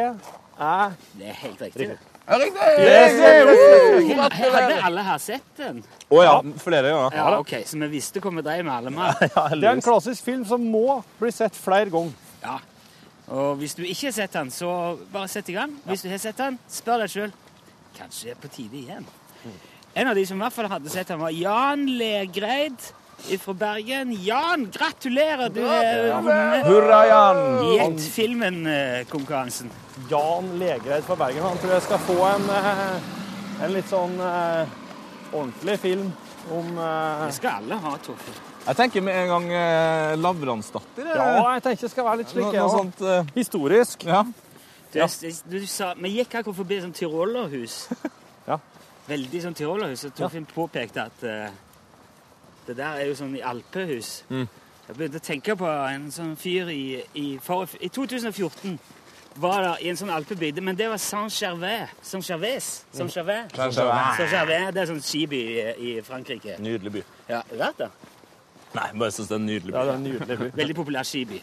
Speaker 3: er
Speaker 6: Det er helt riktig.
Speaker 2: Ja, riktig!
Speaker 6: Hadde hadde alle her sett den?
Speaker 4: Å ja, flere ganger.
Speaker 6: Ja, ok, Så vi visste hvor vi drev med alle mann.
Speaker 3: Det er en klassisk film som må bli sett flere ganger.
Speaker 6: Ja. Og hvis du ikke har sett den, så bare sett i gang. Hvis du har sett den, spør deg sjøl. Kanskje det er på tide igjen. En av de som i hvert fall hadde sett den, var Jan Legreid fra Bergen. Jan, gratulerer! Du har vunnet
Speaker 4: Hurra, Jan!
Speaker 6: Gjett eh, filmen-konkurransen.
Speaker 3: Jan Legreid fra Bergen. Han tror jeg skal få en, eh, en litt sånn eh, ordentlig film om eh,
Speaker 6: Det skal alle ha, Torfinn.
Speaker 4: Jeg tenker med en gang eh, Lavransdatter. eh.
Speaker 3: Ja, jeg tenker det skal være litt slik.
Speaker 4: Noe,
Speaker 3: ja.
Speaker 4: noe sånt. eh,
Speaker 3: Historisk.
Speaker 4: ja.
Speaker 6: Du, du, sa, vi gikk akkurat forbi et sånt tyrolerhus.
Speaker 3: Ja.
Speaker 6: Veldig sånn tyrolerhus. Og Torfinn påpekte at eh, det der er jo sånn i alpehus. Jeg begynte å tenke på en sånn fyr i, i, for, i 2014 var der i en sånn alpebygde, men det var Saint-Gervais. Saint-Gervais. Saint-Gervais.
Speaker 4: Saint-Gervais.
Speaker 6: Saint-Gervais, Det er sånn skiby i, i Frankrike.
Speaker 4: Nydelig by.
Speaker 6: Ja, Rart, da.
Speaker 4: Nei, bare syns det er en nydelig by.
Speaker 3: Ja, det er en nydelig by.
Speaker 6: Veldig populær skiby.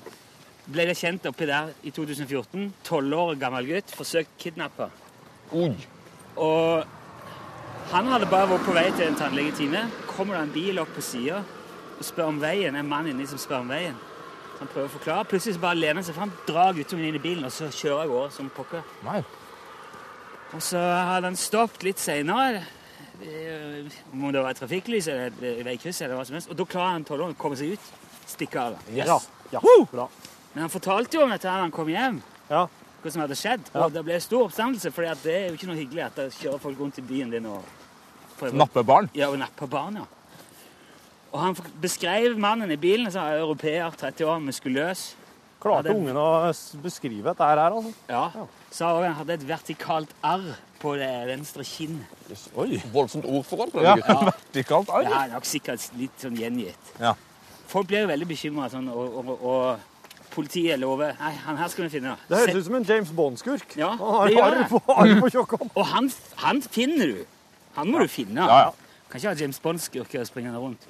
Speaker 6: Ble det kjent oppi der i 2014. Tolv år gammel gutt. Forsøkt kidnappa. Og han hadde bare vært på vei til en tannlegetime. Kommer det en bil opp på sida og spør om veien. En mann inni som spør om veien. Så han prøver å forklare. Plutselig så bare lener han seg fram, drar guttungen inn i bilen, og så kjører jeg over som pokker.
Speaker 4: Nei.
Speaker 6: Og så hadde han stoppet litt seinere. Om det var et trafikklys eller et eh, veikryss, eller hva som helst. Og da klarer han tolvåringen å komme seg ut. Stikke av. da.
Speaker 3: Ja, ja, bra.
Speaker 6: Men han fortalte jo om dette her da han kom hjem.
Speaker 3: Ja.
Speaker 6: Hva som hadde skjedd.
Speaker 3: Ja.
Speaker 6: Og det ble stor oppstandelse, for det er jo ikke noe hyggelig at det kjører folk rundt i byen din og prøver å-
Speaker 4: Nappe barn.
Speaker 6: ja, og napper barn. ja. Og han f- beskrev mannen i bilen som en europeer, 30 år, muskuløs.
Speaker 3: Klarte
Speaker 6: Ja, det-
Speaker 3: ungen å s- beskrive dette her, altså?
Speaker 6: Ja. Sa også han hadde et vertikalt arr på det venstre kinn.
Speaker 4: Oi.
Speaker 2: Voldsomt ordforråd på denne gutten.
Speaker 4: Vertikalt
Speaker 6: Det
Speaker 4: arr.
Speaker 6: er nok sikkert litt sånn gjengitt.
Speaker 4: Ja.
Speaker 6: Folk blir jo veldig bekymra sånn, og, og, og politiet lover Nei, han her skal vi finne.
Speaker 3: Det høres ut som en James Bond-skurk.
Speaker 6: Ja,
Speaker 3: Han har
Speaker 6: det
Speaker 3: jo
Speaker 6: gjør
Speaker 3: arr
Speaker 6: det.
Speaker 3: på, arr på tjokkhånd.
Speaker 6: Og han, han finner du. Han må du finne.
Speaker 4: Ja, ja.
Speaker 6: Kan ikke ha James Bond-skurker springende rundt.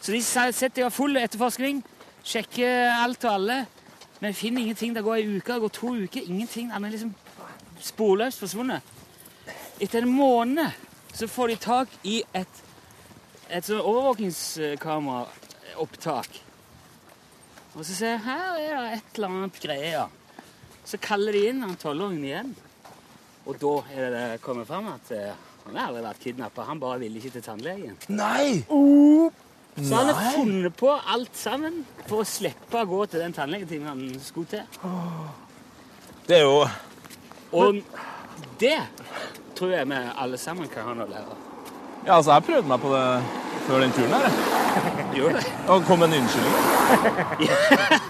Speaker 6: Så de sa- setter i full etterforskning, sjekker alt og alle, men finner ingenting. Det går ei uke, det går to uker, ingenting. Han er liksom sporløst forsvunnet. Etter en måned så får de tak i et, et sånn overvåkningskameraopptak. Og så ser jeg her er det et eller annet greier. Så kaller de inn han tolvåringen igjen. Og da er det det kommer fram at eh, han har aldri vært kidnappa. Han bare ville ikke til tannlegen.
Speaker 4: Nei!
Speaker 6: Så han har funnet på alt sammen for å slippe å gå til den tannlegetimen han skulle til.
Speaker 4: Det er jo
Speaker 6: Og det tror jeg vi alle sammen kan ha noe å lære av.
Speaker 4: Ja, altså, jeg prøvde meg på det før den turen (laughs) her. jeg.
Speaker 6: Gjør det.
Speaker 4: Og kom med en unnskyldning.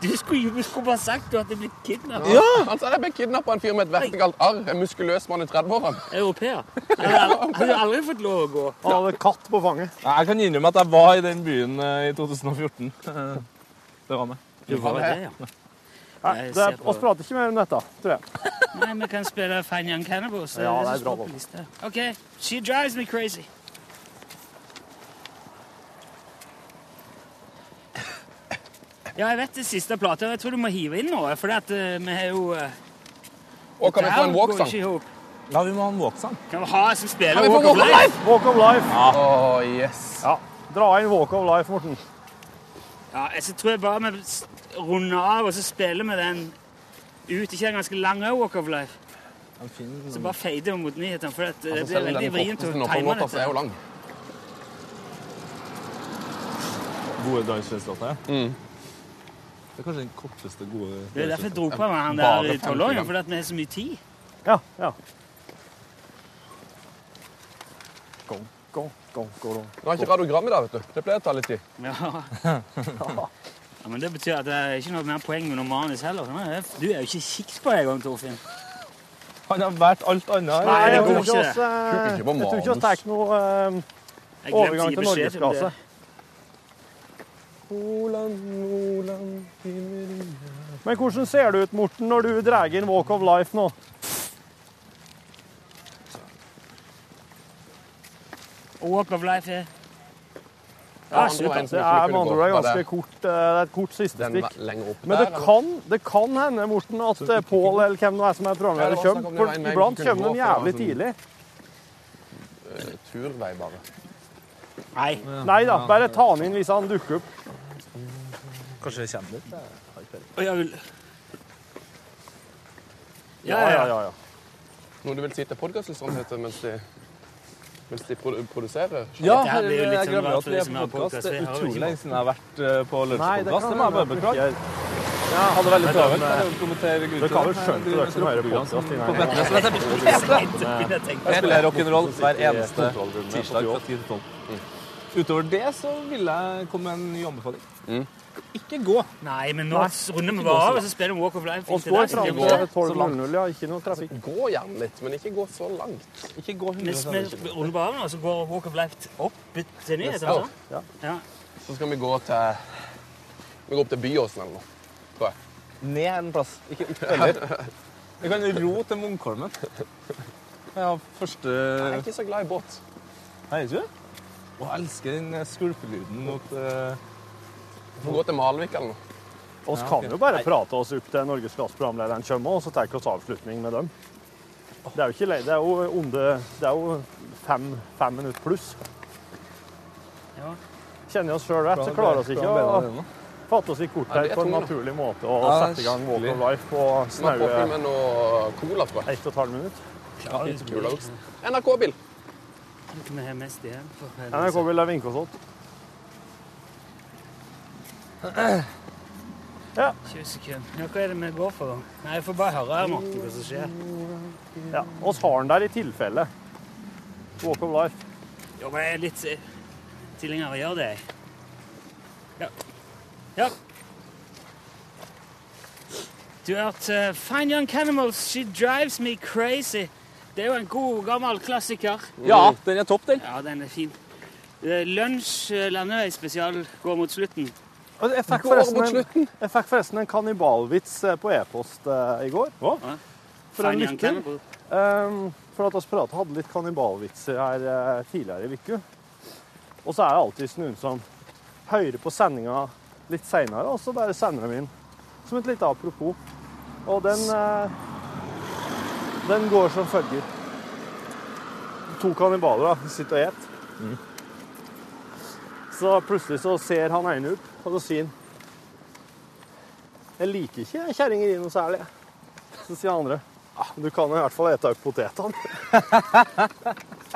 Speaker 6: Du skulle jo du skulle bare sagt du hadde blitt kidnappa.
Speaker 4: Ja!
Speaker 2: Han sa det ble kidnappa en fyr med et vertikalt arr. En muskuløs mann i 30-årene.
Speaker 6: Europeer. Han hadde al- hadde jo aldri fått lov å gå.
Speaker 3: Han hadde katt på fanget.
Speaker 4: Nei, Jeg kan innrømme at jeg var i den byen eh, i 2014. Eh, (laughs) Det var meg.
Speaker 6: Det var det, ja.
Speaker 3: Nei,
Speaker 6: Jeg
Speaker 3: det,
Speaker 6: ser på-
Speaker 3: oss prater ikke mer om dette, tror jeg.
Speaker 6: Nei, vi kan spille Fan Young Cannibals.
Speaker 3: Ja, det er
Speaker 6: som
Speaker 3: bra,
Speaker 6: står på
Speaker 3: Bob.
Speaker 6: lista. OK. She drives me crazy. Ja, jeg vet det siste plata. Jeg tror du må hive inn noe, for at, eh, vi har jo eh,
Speaker 2: Og kan vi få en
Speaker 6: det her går
Speaker 2: walk-sang?
Speaker 6: ikke i hop.
Speaker 4: Ja, vi må ha en walk-sang.
Speaker 6: Kan vi ha en som
Speaker 2: Kan
Speaker 6: spiller
Speaker 2: vi få
Speaker 6: Walk of
Speaker 2: walk-on
Speaker 6: Life?
Speaker 3: Walk of life.
Speaker 2: Å, yes.
Speaker 3: Ja. Dra inn Walk of life, Morten.
Speaker 6: Ja, jeg så tror jeg bare vi s- runder av, og så spiller vi den ut. Ikke den ganske lange Walk of Life. Så bare fader vi mot nyhetene, for at, eh, det blir
Speaker 2: Selv
Speaker 6: veldig
Speaker 2: Altså, den
Speaker 6: vrient å
Speaker 2: kortesten oppe på
Speaker 6: time
Speaker 2: låta så er
Speaker 6: dette.
Speaker 2: jo lang.
Speaker 4: Gode dansfestlåter. Mm. Det er kanskje den korteste gode
Speaker 6: Det er derfor jeg dro på med han
Speaker 2: Bare
Speaker 6: der
Speaker 2: 50
Speaker 6: i tolvåringen,
Speaker 2: gram.
Speaker 6: fordi at vi har så mye tid.
Speaker 3: Ja, ja. Gong, gong, gong, gong.
Speaker 2: Nå har ikke radiogram i dag, vet du. Det pleier å ta litt tid.
Speaker 6: Ja. ja, men det betyr at det er ikke noe mer poeng under manus heller. Nei, Du er jo ikke kikk på deg engang, Torfinn.
Speaker 4: Han har vært alt annet.
Speaker 6: Nei,
Speaker 3: Nei,
Speaker 6: det
Speaker 3: jeg
Speaker 6: går
Speaker 3: tror ikke
Speaker 6: ikke,
Speaker 3: oss, eh,
Speaker 6: det.
Speaker 2: Tror ikke på
Speaker 3: jeg tror ikke oss
Speaker 2: manus.
Speaker 3: tar noe eh,
Speaker 6: Jeg glemte å
Speaker 3: overgang
Speaker 6: gi
Speaker 3: til
Speaker 6: beskjed om
Speaker 3: norgesklasse.
Speaker 6: det.
Speaker 3: Men hvordan ser det ut, Morten, når du drar inn Walk of Life nå?
Speaker 6: Og Walk of Life er
Speaker 2: Ja,
Speaker 6: Ja,
Speaker 2: andre
Speaker 6: super.
Speaker 2: veien som
Speaker 3: Det
Speaker 2: ikke vi
Speaker 3: er med
Speaker 2: kunne
Speaker 3: andre
Speaker 2: gå.
Speaker 3: ord
Speaker 2: Var
Speaker 3: ganske
Speaker 2: det
Speaker 3: kort, eh, det er et kort siste
Speaker 2: Den
Speaker 3: stikk.
Speaker 2: lenger opp
Speaker 3: Men
Speaker 2: der,
Speaker 3: det kan, det kan hende, Morten, at eh, Pål eller hvem det er som er
Speaker 2: Ja, det
Speaker 3: programleder,
Speaker 2: var snakk
Speaker 3: kommer.
Speaker 2: om den
Speaker 3: For
Speaker 2: veien jeg
Speaker 3: iblant
Speaker 2: kunne
Speaker 3: kommer de
Speaker 2: gå, for det
Speaker 3: jævlig
Speaker 2: var
Speaker 3: tidlig.
Speaker 2: eller? Turvei, bare.
Speaker 6: Nei.
Speaker 3: Nei da, bare ta han inn hvis han dukker opp.
Speaker 4: Kanskje det kommer litt.
Speaker 6: Oi, jeg vil...
Speaker 3: Ja, ja, ja. ja.
Speaker 2: Noe du vil si til podkastlytterne, vet du, mens de, mens de produ- produserer?
Speaker 4: Ja,
Speaker 6: Dette her
Speaker 4: herre,
Speaker 6: blir jo litt
Speaker 4: jeg
Speaker 6: sånn
Speaker 4: glemmer
Speaker 6: rart
Speaker 4: at vi
Speaker 6: for de
Speaker 4: er
Speaker 6: som
Speaker 4: på
Speaker 6: har
Speaker 4: podkast.
Speaker 6: podcast.
Speaker 4: Det er
Speaker 6: Vi har jo ikke
Speaker 4: utrolig lenge siden jeg har vært eh, på
Speaker 3: Nei, det
Speaker 4: lunsjpodkast.
Speaker 3: kan
Speaker 4: Det må jeg bare
Speaker 3: hende.
Speaker 4: beklage. Jeg hadde veldig travelt. Jeg vil kommentere
Speaker 3: Du kan vel
Speaker 4: gutter.
Speaker 3: skjønne det, dere som hører podkast i
Speaker 4: På
Speaker 3: nærheten.
Speaker 4: Betnes, vet jeg. Jeg spiller rock'n'roll hver eneste tirsdag fra 10 til 12. Mm. Utover det så vil jeg komme med en ny anbefaling. Ikke gå.
Speaker 6: Nei, men nå runder vi bare av, og så spiller vi Walk of Life.
Speaker 3: Og
Speaker 6: inntil
Speaker 3: står
Speaker 6: der.
Speaker 3: framme
Speaker 6: Vi-
Speaker 3: 12.00, ja. Ikke noe trafikk.
Speaker 2: Gå gjerne litt, men ikke gå så langt.
Speaker 4: Ikke gå
Speaker 6: Vi
Speaker 4: 100
Speaker 6: vi runder bare av nå, og så går Walk of Life opp til nyheter.
Speaker 2: Ja.
Speaker 6: altså. Ja.
Speaker 2: Så skal vi gå til Vi går opp til Byåsen eller noe, tror jeg.
Speaker 4: Ned en plass. Ikke opp heller. Vi kan ro til Munkholmen. Ja, første
Speaker 2: Jeg er ikke så glad i båt.
Speaker 4: Nei, ikke du? Og jeg elsker den eh, skvulpelyden mot eh,
Speaker 2: Vi får gå til Malvik eller noe.
Speaker 3: Vi kan jo bare prate oss opp til Norges Glass-programlederen kommer, og så tar vi oss avslutning med dem. Det er jo ikke lei, det er jo onde Det er jo fem, fem minutter pluss.
Speaker 6: Ja.
Speaker 3: Kjenner vi oss sjøl rett, så klarer vi oss ikke
Speaker 4: fra
Speaker 3: å
Speaker 4: bena dine.
Speaker 3: fatte oss i
Speaker 2: Ja,
Speaker 3: korthet
Speaker 2: det er
Speaker 3: på en
Speaker 2: tungt, da.
Speaker 3: naturlig måte og
Speaker 4: Ja, det er
Speaker 3: sette i gang Walk of
Speaker 4: skikkelig.
Speaker 3: Life på
Speaker 2: Vi har
Speaker 3: snaue
Speaker 2: med noe cola, tror jeg.
Speaker 3: ett og et halvt minutt.
Speaker 2: Cola Oaks. NRK-bil.
Speaker 6: Vi har mest igjen. for
Speaker 3: NRK
Speaker 6: helvete.
Speaker 3: vil vinke oss opp. Ja.
Speaker 6: 20 sekunder. Ja, hva er det vi går for? da? Nei, Jeg får bare høre her, Morten, hva som skjer.
Speaker 3: Ja, oss har den der i tilfelle. Walk of Life.
Speaker 6: Jo, men jeg er litt eh, tilhenger av å gjøre det, jeg. Ja. ja. Du har hørt eh, Fine Young Cannibals, She Drives Me Crazy. Det er jo en god, gammel klassiker.
Speaker 4: Ja, den er topp, den.
Speaker 6: Ja, den er fin. Eh, Lunsj eh, landeveispesial går mot slutten.
Speaker 3: Og Jeg fikk,
Speaker 2: Går mot
Speaker 3: forresten en,
Speaker 2: slutten.
Speaker 3: jeg fikk forresten en kannibalvits eh, på e-post eh, i går.
Speaker 6: Ja.
Speaker 3: For en
Speaker 6: Fine Young
Speaker 3: lytter.
Speaker 6: Cannibal.
Speaker 3: Ehm, for at oss pratet hadde litt kannibalvitser her eh, tidligere i uka. Og så er det alltid noen som hører på sendinga litt seinere, og så bare sender de inn. Som et lite apropos. Og den eh, Den går som følger. To kannibaler da, de sitter og et. Så plutselig så ser han ene opp, og så sier han Jeg liker ikke kjerringer i noe særlig. Så sier han andre «Ah, Du kan jo i hvert fall ete opp potetene.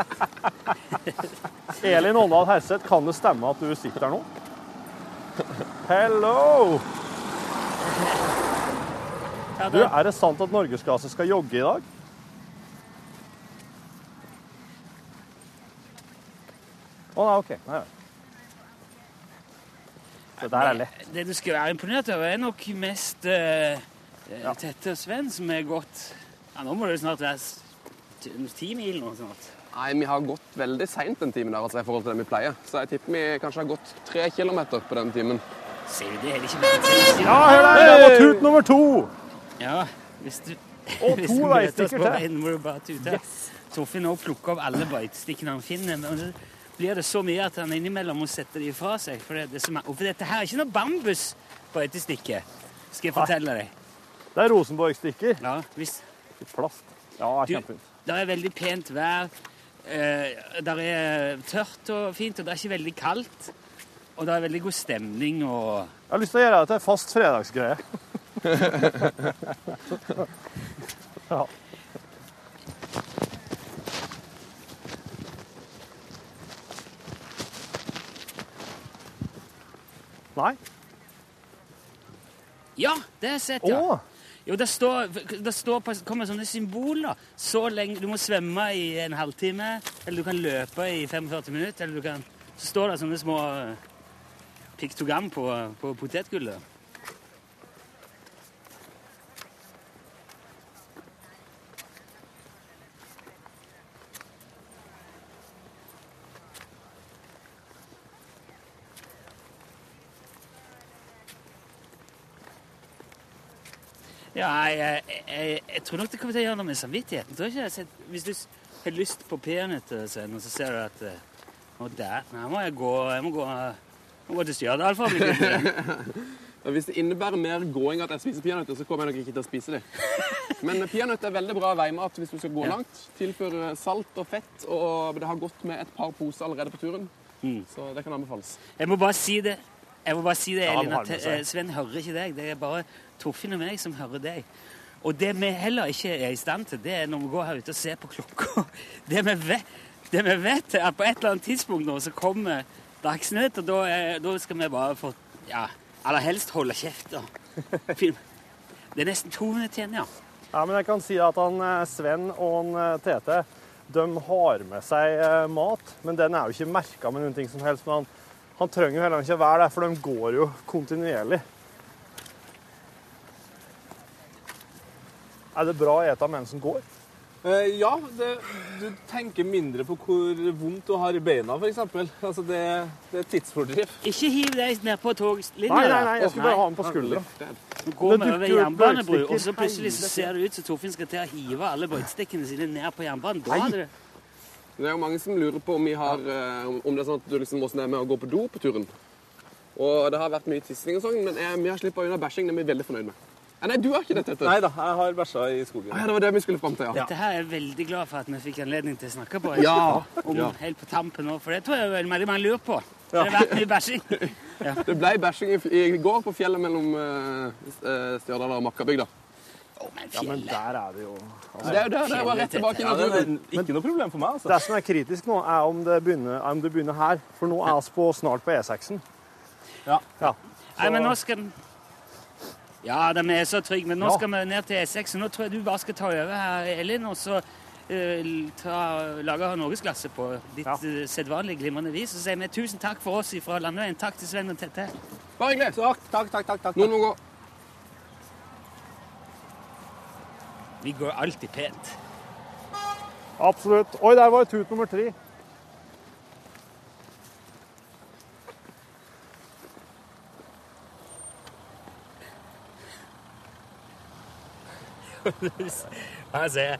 Speaker 3: (laughs) Elin Åndal Herseth, kan det stemme at du sitter her nå? Hello!
Speaker 6: Ja,
Speaker 3: Du,
Speaker 6: da,
Speaker 3: er det sant at Norgesklasse skal jogge i dag? Å nei, OK. Nei. Det der er lett.
Speaker 6: det du skal være imponert over, er nok mest eh, eh, Tette og Sven, som er gått Ja, nå må det jo snart være s- ti ti mil nå snart.
Speaker 2: Nei, vi har gått veldig seint den timen her, altså, i forhold til det vi pleier. Så jeg tipper vi kanskje har gått tre kilometer på den timen.
Speaker 6: Ser du, det er ikke bare ti
Speaker 3: Ja, hør der! Det var tut nummer to!
Speaker 6: Ja, hvis du
Speaker 3: Og
Speaker 6: (laughs) hvis
Speaker 3: to
Speaker 6: du møter oss
Speaker 3: veistikker
Speaker 6: på
Speaker 3: til.
Speaker 6: veien, må du bare tute. Torfinn nå plukker opp alle veiststikkene han finner. men det blir det så mye at han innimellom må sette de fra seg. For, det er det som er, og for dette her er ikke noe bambusbeitestikke, skal jeg fortelle deg.
Speaker 3: Det er Rosenborg-stikker.
Speaker 6: Ja, hvis,
Speaker 3: I plast. Ja,
Speaker 6: Du,
Speaker 3: kjempefint.
Speaker 6: det er veldig pent vær. Eh, det er tørt og fint, og det er ikke veldig kaldt. Og det er veldig god stemning og
Speaker 3: Jeg har lyst til å gjøre det til en fast fredagsgreie. Nei?
Speaker 6: Ja, det har jeg sett,
Speaker 3: Å!
Speaker 6: ja. Jo, det står, det står på, kommer sånne symboler. Så lenge Du må svømme i en halvtime, eller du kan løpe i 45 minutter, eller du kan Så står det sånne små eh, piktogram på, på potetgullet. Ja, jeg, jeg, jeg, jeg tror nok det kommer til å gjøre noe med samvittigheten. Tror ikke jeg har sett, hvis du s- har lyst på peanøtter, Sven, og så ser du at eh, Å, der. Nei, må jeg gå Jeg må gå, jeg må gå til Stjørdal for å bli kvitt det.
Speaker 2: Og Hvis det innebærer mer gåing at jeg spiser peanøtter, så kommer jeg nok ikke til å spise dem. Men peanøtter er veldig bra veimat hvis du skal gå
Speaker 6: Ja.
Speaker 2: langt. Tilfører salt og fett, og det har gått med et par poser allerede på turen.
Speaker 6: Mm.
Speaker 2: Så det kan anbefales.
Speaker 6: Jeg må bare si det. Jeg må bare si det,
Speaker 3: han
Speaker 6: Elin, at
Speaker 3: har med seg.
Speaker 6: eh, Sven hører ikke deg. Det er bare Torfinn og meg som hører deg. Og det vi heller ikke er i stand til, det er når vi går her ute og ser på klokka (laughs) Det vi vet, det vi vet er at på et eller annet tidspunkt nå så kommer Dagsnytt, og da, er- da skal vi bare få Ja, aller helst holde kjeft og
Speaker 3: (laughs)
Speaker 6: film. Det er nesten to minutter igjen, ja.
Speaker 3: Ja, men jeg kan si at han eh, Sven og han eh, Tete de har med seg eh, mat, men den er jo ikke merka med noen ting som helst. Men han, han trenger jo heller ikke å være der, for de går jo kontinuerlig. Er det bra å ete mens en går?
Speaker 4: Eh, ja, det, du tenker mindre på hvor vondt du har i beina, f.eks. Altså, det, det er tidsfordriv.
Speaker 6: Ikke hiv deg nedpå toglinja.
Speaker 3: Nei, nei,
Speaker 6: da.
Speaker 3: nei, jeg skulle bare ha den på skuldra.
Speaker 6: Du går
Speaker 3: Det
Speaker 6: vi over
Speaker 3: dukker jo opp
Speaker 6: jernbanebru,
Speaker 3: brøytestikker.
Speaker 6: og så plutselig så ser det ut som Torfinn skal til å hive alle brøytestikkene sine ned på jernbanen. Da hadde det
Speaker 2: Det er jo mange som lurer på om, vi har, eh, om- om det er sånn at du liksom må snemme med å gå på do på turen. Og det har vært mye tissing og sånn, men eh, vi har slippet unna bæsjing. Det er vi veldig fornøyd med. Eh, Nei, du har ikke det, Tete.
Speaker 4: Nei da, jeg har bæsja i skogen.
Speaker 2: Ah, Ja, det var det vi skulle fram til, ja.
Speaker 6: Dette her er jeg veldig glad for at vi fikk anledning til å snakke på.
Speaker 2: Ja.
Speaker 6: Om
Speaker 2: Ja.
Speaker 6: helt på tampen nå, for det tror jeg vel veldig mange lurer på. Det har vært mye
Speaker 3: (laughs)
Speaker 6: bæsjing.
Speaker 2: Det ble bæsjing i, i går på fjellet mellom eh, s- eh, Stjørdal og Makkabygda.
Speaker 6: Å, men
Speaker 3: Men
Speaker 6: fjellet.
Speaker 3: der er det jo
Speaker 2: Så Det er jo der, det er bare rett tilbake i
Speaker 4: Ja, det er
Speaker 2: naturen.
Speaker 4: ikke noe problem for meg, altså.
Speaker 3: Det som er kritisk nå, er om det begynner, om det begynner her. For nå er vi på, snart på E E6-en.
Speaker 4: Ja.
Speaker 6: Nei, men nå skal den Ja, den er så trygg, men nå skal vi ned til E6, og nå tror jeg du bare skal ta over her, Elin, og så eh, ta, lage norgesklasse på ditt
Speaker 3: Ja.
Speaker 6: eh, sedvanlige glimrende vis. Og så sier vi tusen takk for oss fra landeveien. Takk til Sven og Tette.
Speaker 2: Bare hyggelig.
Speaker 4: Takk, takk, takk. takk, takk.
Speaker 2: Noen må gå.
Speaker 6: Vi går alltid pent. (laughs)
Speaker 3: Absolutt. Oi, der var tut nummer tre.
Speaker 6: Her ser jeg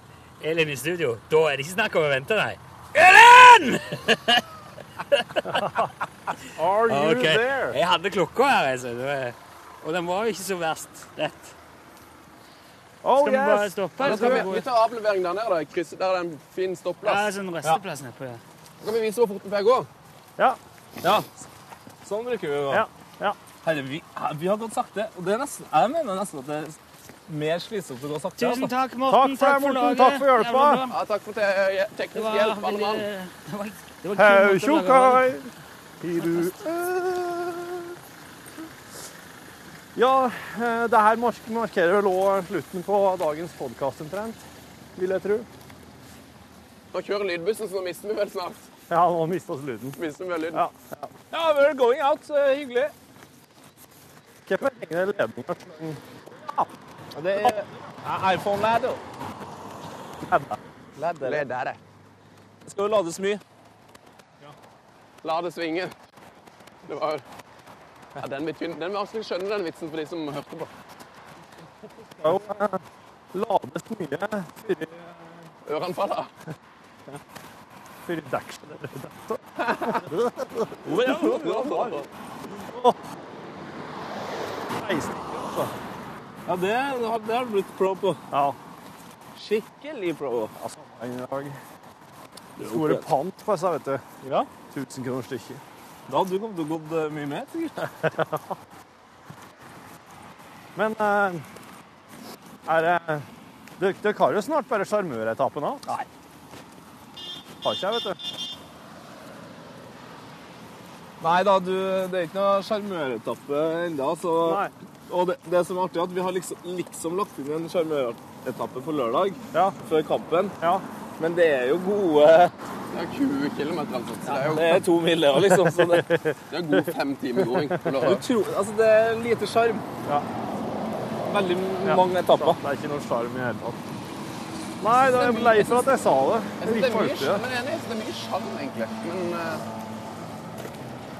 Speaker 6: Elin i studio. Da er det ikke snakk om å vente, nei. Elin!
Speaker 3: Are you
Speaker 6: Ok.
Speaker 3: there?
Speaker 6: Jeg hadde klokka her, jeg, så det var- og den var jo ikke så verst rett.
Speaker 3: Oh,
Speaker 6: Skal vi bare
Speaker 3: yes!
Speaker 6: stoppe?
Speaker 2: Da
Speaker 6: Eller
Speaker 2: skal
Speaker 6: skal
Speaker 2: vi,
Speaker 6: vi gå
Speaker 2: vi tar avlevering der nede. da. i krysset. Der er det en fin
Speaker 6: Ja,
Speaker 2: stopplass.
Speaker 6: sånn resteplass nedpå, ja.
Speaker 2: Så kan vi vise hvor fort vi får gå.
Speaker 3: Ja,
Speaker 4: Ja, sånn bruker vi å gå.
Speaker 3: ja, ja.
Speaker 4: Herre, vi, vi har gått sakte, og det er nesten, jeg mener nesten at det er mer slitsomt å gå sakte.
Speaker 6: Tusen
Speaker 4: altså.
Speaker 6: takk, Morten.
Speaker 3: Takk for, Morten.
Speaker 6: laget.
Speaker 3: Takk for hjelpa.
Speaker 6: Jævla bra.
Speaker 2: Ja, takk for te
Speaker 6: Det
Speaker 2: teknisk
Speaker 6: var
Speaker 2: hjelp, alle
Speaker 6: veldig-
Speaker 2: mann.
Speaker 6: det var- det var kul
Speaker 3: Hei,
Speaker 6: måte å lage det
Speaker 3: tjokkai! Hiru. Ja, eh, det her mark- markerer vel også slutten på dagens podkast omtrent, vil jeg tro.
Speaker 2: Nå kjører lydbussen, så nå mister vi vel snart.
Speaker 3: Ja, nå mista vi lyden.
Speaker 2: Mister vi vel lyden.
Speaker 3: Ja.
Speaker 4: Ja, we're going out. eh, Hyggelig.
Speaker 3: Hvorfor henger det ledninger så lenge?
Speaker 4: Det er iPhone-ladder.
Speaker 2: Det er der, det.
Speaker 4: Det skal jo lades mye.
Speaker 2: La det svinge. Det var ja, den, vil kun- den vil absolutt skjønne den vitsen for de som hørte på.
Speaker 3: Det skal jo eh, lades mye før-
Speaker 2: Ørene faller.
Speaker 3: før dekselet er rødt.
Speaker 2: Ja,
Speaker 3: Veistikker, altså.
Speaker 4: Ja, det, det har det har du blitt pro på.
Speaker 3: Ja,
Speaker 4: Skikkelig pro.
Speaker 3: altså, en dag. Store pant på disse, vet du.
Speaker 4: Ja.
Speaker 3: 1000 kroner stykket.
Speaker 4: Da hadde du kommet til å gått eh, mye mer, sikkert.
Speaker 3: Men eh, er det Dere dere har jo snart bare sjarmøretappen òg. Nei. Har ikke jeg, vet du.
Speaker 4: Nei da, du, det er ikke noe sjarmøretappe ennå.
Speaker 3: Nei.
Speaker 4: Og det, det som er artig, er at vi har liksom, liksom lagt inn en sjarmøretappe på lørdag
Speaker 3: Ja,
Speaker 4: før kampen.
Speaker 3: ja.
Speaker 4: Men det er jo gode
Speaker 2: 20 km, altså. Så det er jo
Speaker 4: Det er to mil, det òg, liksom. Så det,
Speaker 2: det er en god fem timer gåing på lørdag.
Speaker 4: utro, altså, det er lite sjarm.
Speaker 3: Ja.
Speaker 4: Veldig
Speaker 3: ja.
Speaker 4: mange etapper.
Speaker 3: Så Det er ikke noe sjarm i det hele tatt. Nei, da er jeg lei for at jeg sa det.
Speaker 2: Jeg
Speaker 3: Jeg
Speaker 2: synes det er mye,
Speaker 3: gikk for det.
Speaker 2: men jeg er enig, jeg synes det er mye sjarm, egentlig. Men eh,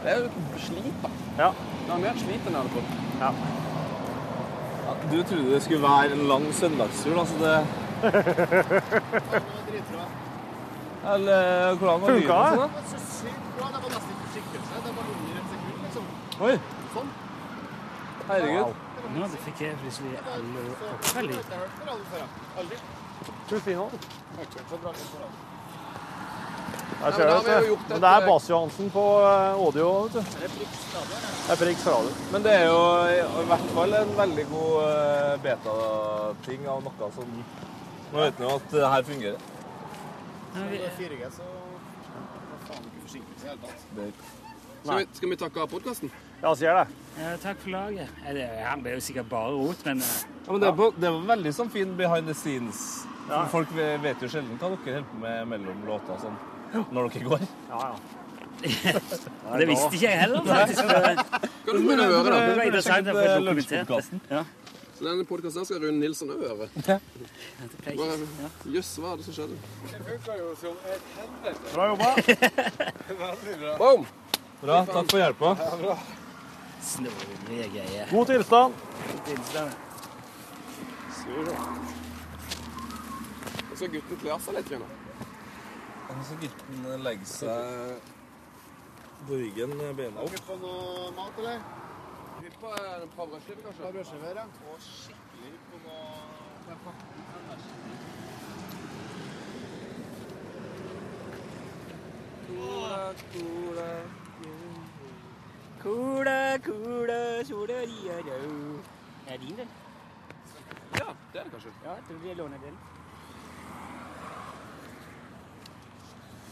Speaker 2: det er jo slit, da.
Speaker 3: Ja.
Speaker 2: Det er mer slit enn jeg hadde trodd.
Speaker 4: Ja, Du trodde det skulle være en lang søndagstur, altså det Eller hvordan var
Speaker 3: Funka det?
Speaker 4: lyden og sånn, da?
Speaker 5: Så sykt bra. Det var nesten ikke skikkelse. Det var under en sekund, liksom.
Speaker 4: Oi. Herregud.
Speaker 6: nå. Nå fikk jeg plutselig alle
Speaker 5: Jeg har
Speaker 6: oppfølging.
Speaker 5: hørt på radio før, jeg. Aldri.
Speaker 3: Rufino.
Speaker 5: Så bra på radio.
Speaker 3: Der
Speaker 2: men da
Speaker 3: ser du,
Speaker 2: har vi
Speaker 3: vet
Speaker 2: jo
Speaker 3: du.
Speaker 2: gjort et-
Speaker 3: Men det er Bass Johansen på eh, audio, vet du. Det er Prix Radio.
Speaker 4: Men det er jo i- i hvert fall en veldig god eh, beta-ting av noe som Nå vet vi jo at det her fungerer.
Speaker 6: Nå er
Speaker 5: Når det
Speaker 6: vi-
Speaker 5: er 4G, så var faen ikke forsinkelse i det hele tatt.
Speaker 2: Skal vi, skal vi takke av podkasten?
Speaker 3: Ja, sier det.
Speaker 6: Ja, takk for laget. Ja, det- Han ble jo sikkert bare rot, men eh,
Speaker 4: Ja, men det, er på, det var veldig sånn fin behind the scenes. Folk ve- vet jo sjelden hva dere holder på med mellom låter og sånn. Når dere går.
Speaker 3: Ja, ja.
Speaker 6: det visste ikke jeg heller, faktisk.
Speaker 2: Hva er det som er å høre, da?
Speaker 6: Det var interessant å få
Speaker 4: Sjekk ut, eh,
Speaker 6: dokumentert det.
Speaker 4: lunsjpodcasten.
Speaker 6: Ja.
Speaker 2: Så denne podkasten her skal Rune Nilsson òg høre.
Speaker 6: Det pleier
Speaker 2: Bare,
Speaker 6: ikke- Ja.
Speaker 2: Jøss, hva er det som skjedde?
Speaker 5: Det funka jo som et helvete.
Speaker 7: Bra
Speaker 2: (laughs)
Speaker 7: jobba.
Speaker 5: Veldig bra.
Speaker 2: Boom!
Speaker 3: Bra, takk for hjelpa.
Speaker 6: Snorlige greier.
Speaker 3: God tilstand.
Speaker 2: Nå skal gutten kle av seg litt. Rune.
Speaker 4: Nå skal gutten legge seg på ryggen, beina opp.
Speaker 5: Skal du få noe mat, eller?
Speaker 2: Vil på en pavrødskive, kanskje?
Speaker 5: eh, Brødskiver, ja.
Speaker 6: Kula, kula, sola, ria, ria. Er det din, den?
Speaker 2: Ja, det er det kanskje.
Speaker 6: Ja, jeg tror jeg låner den.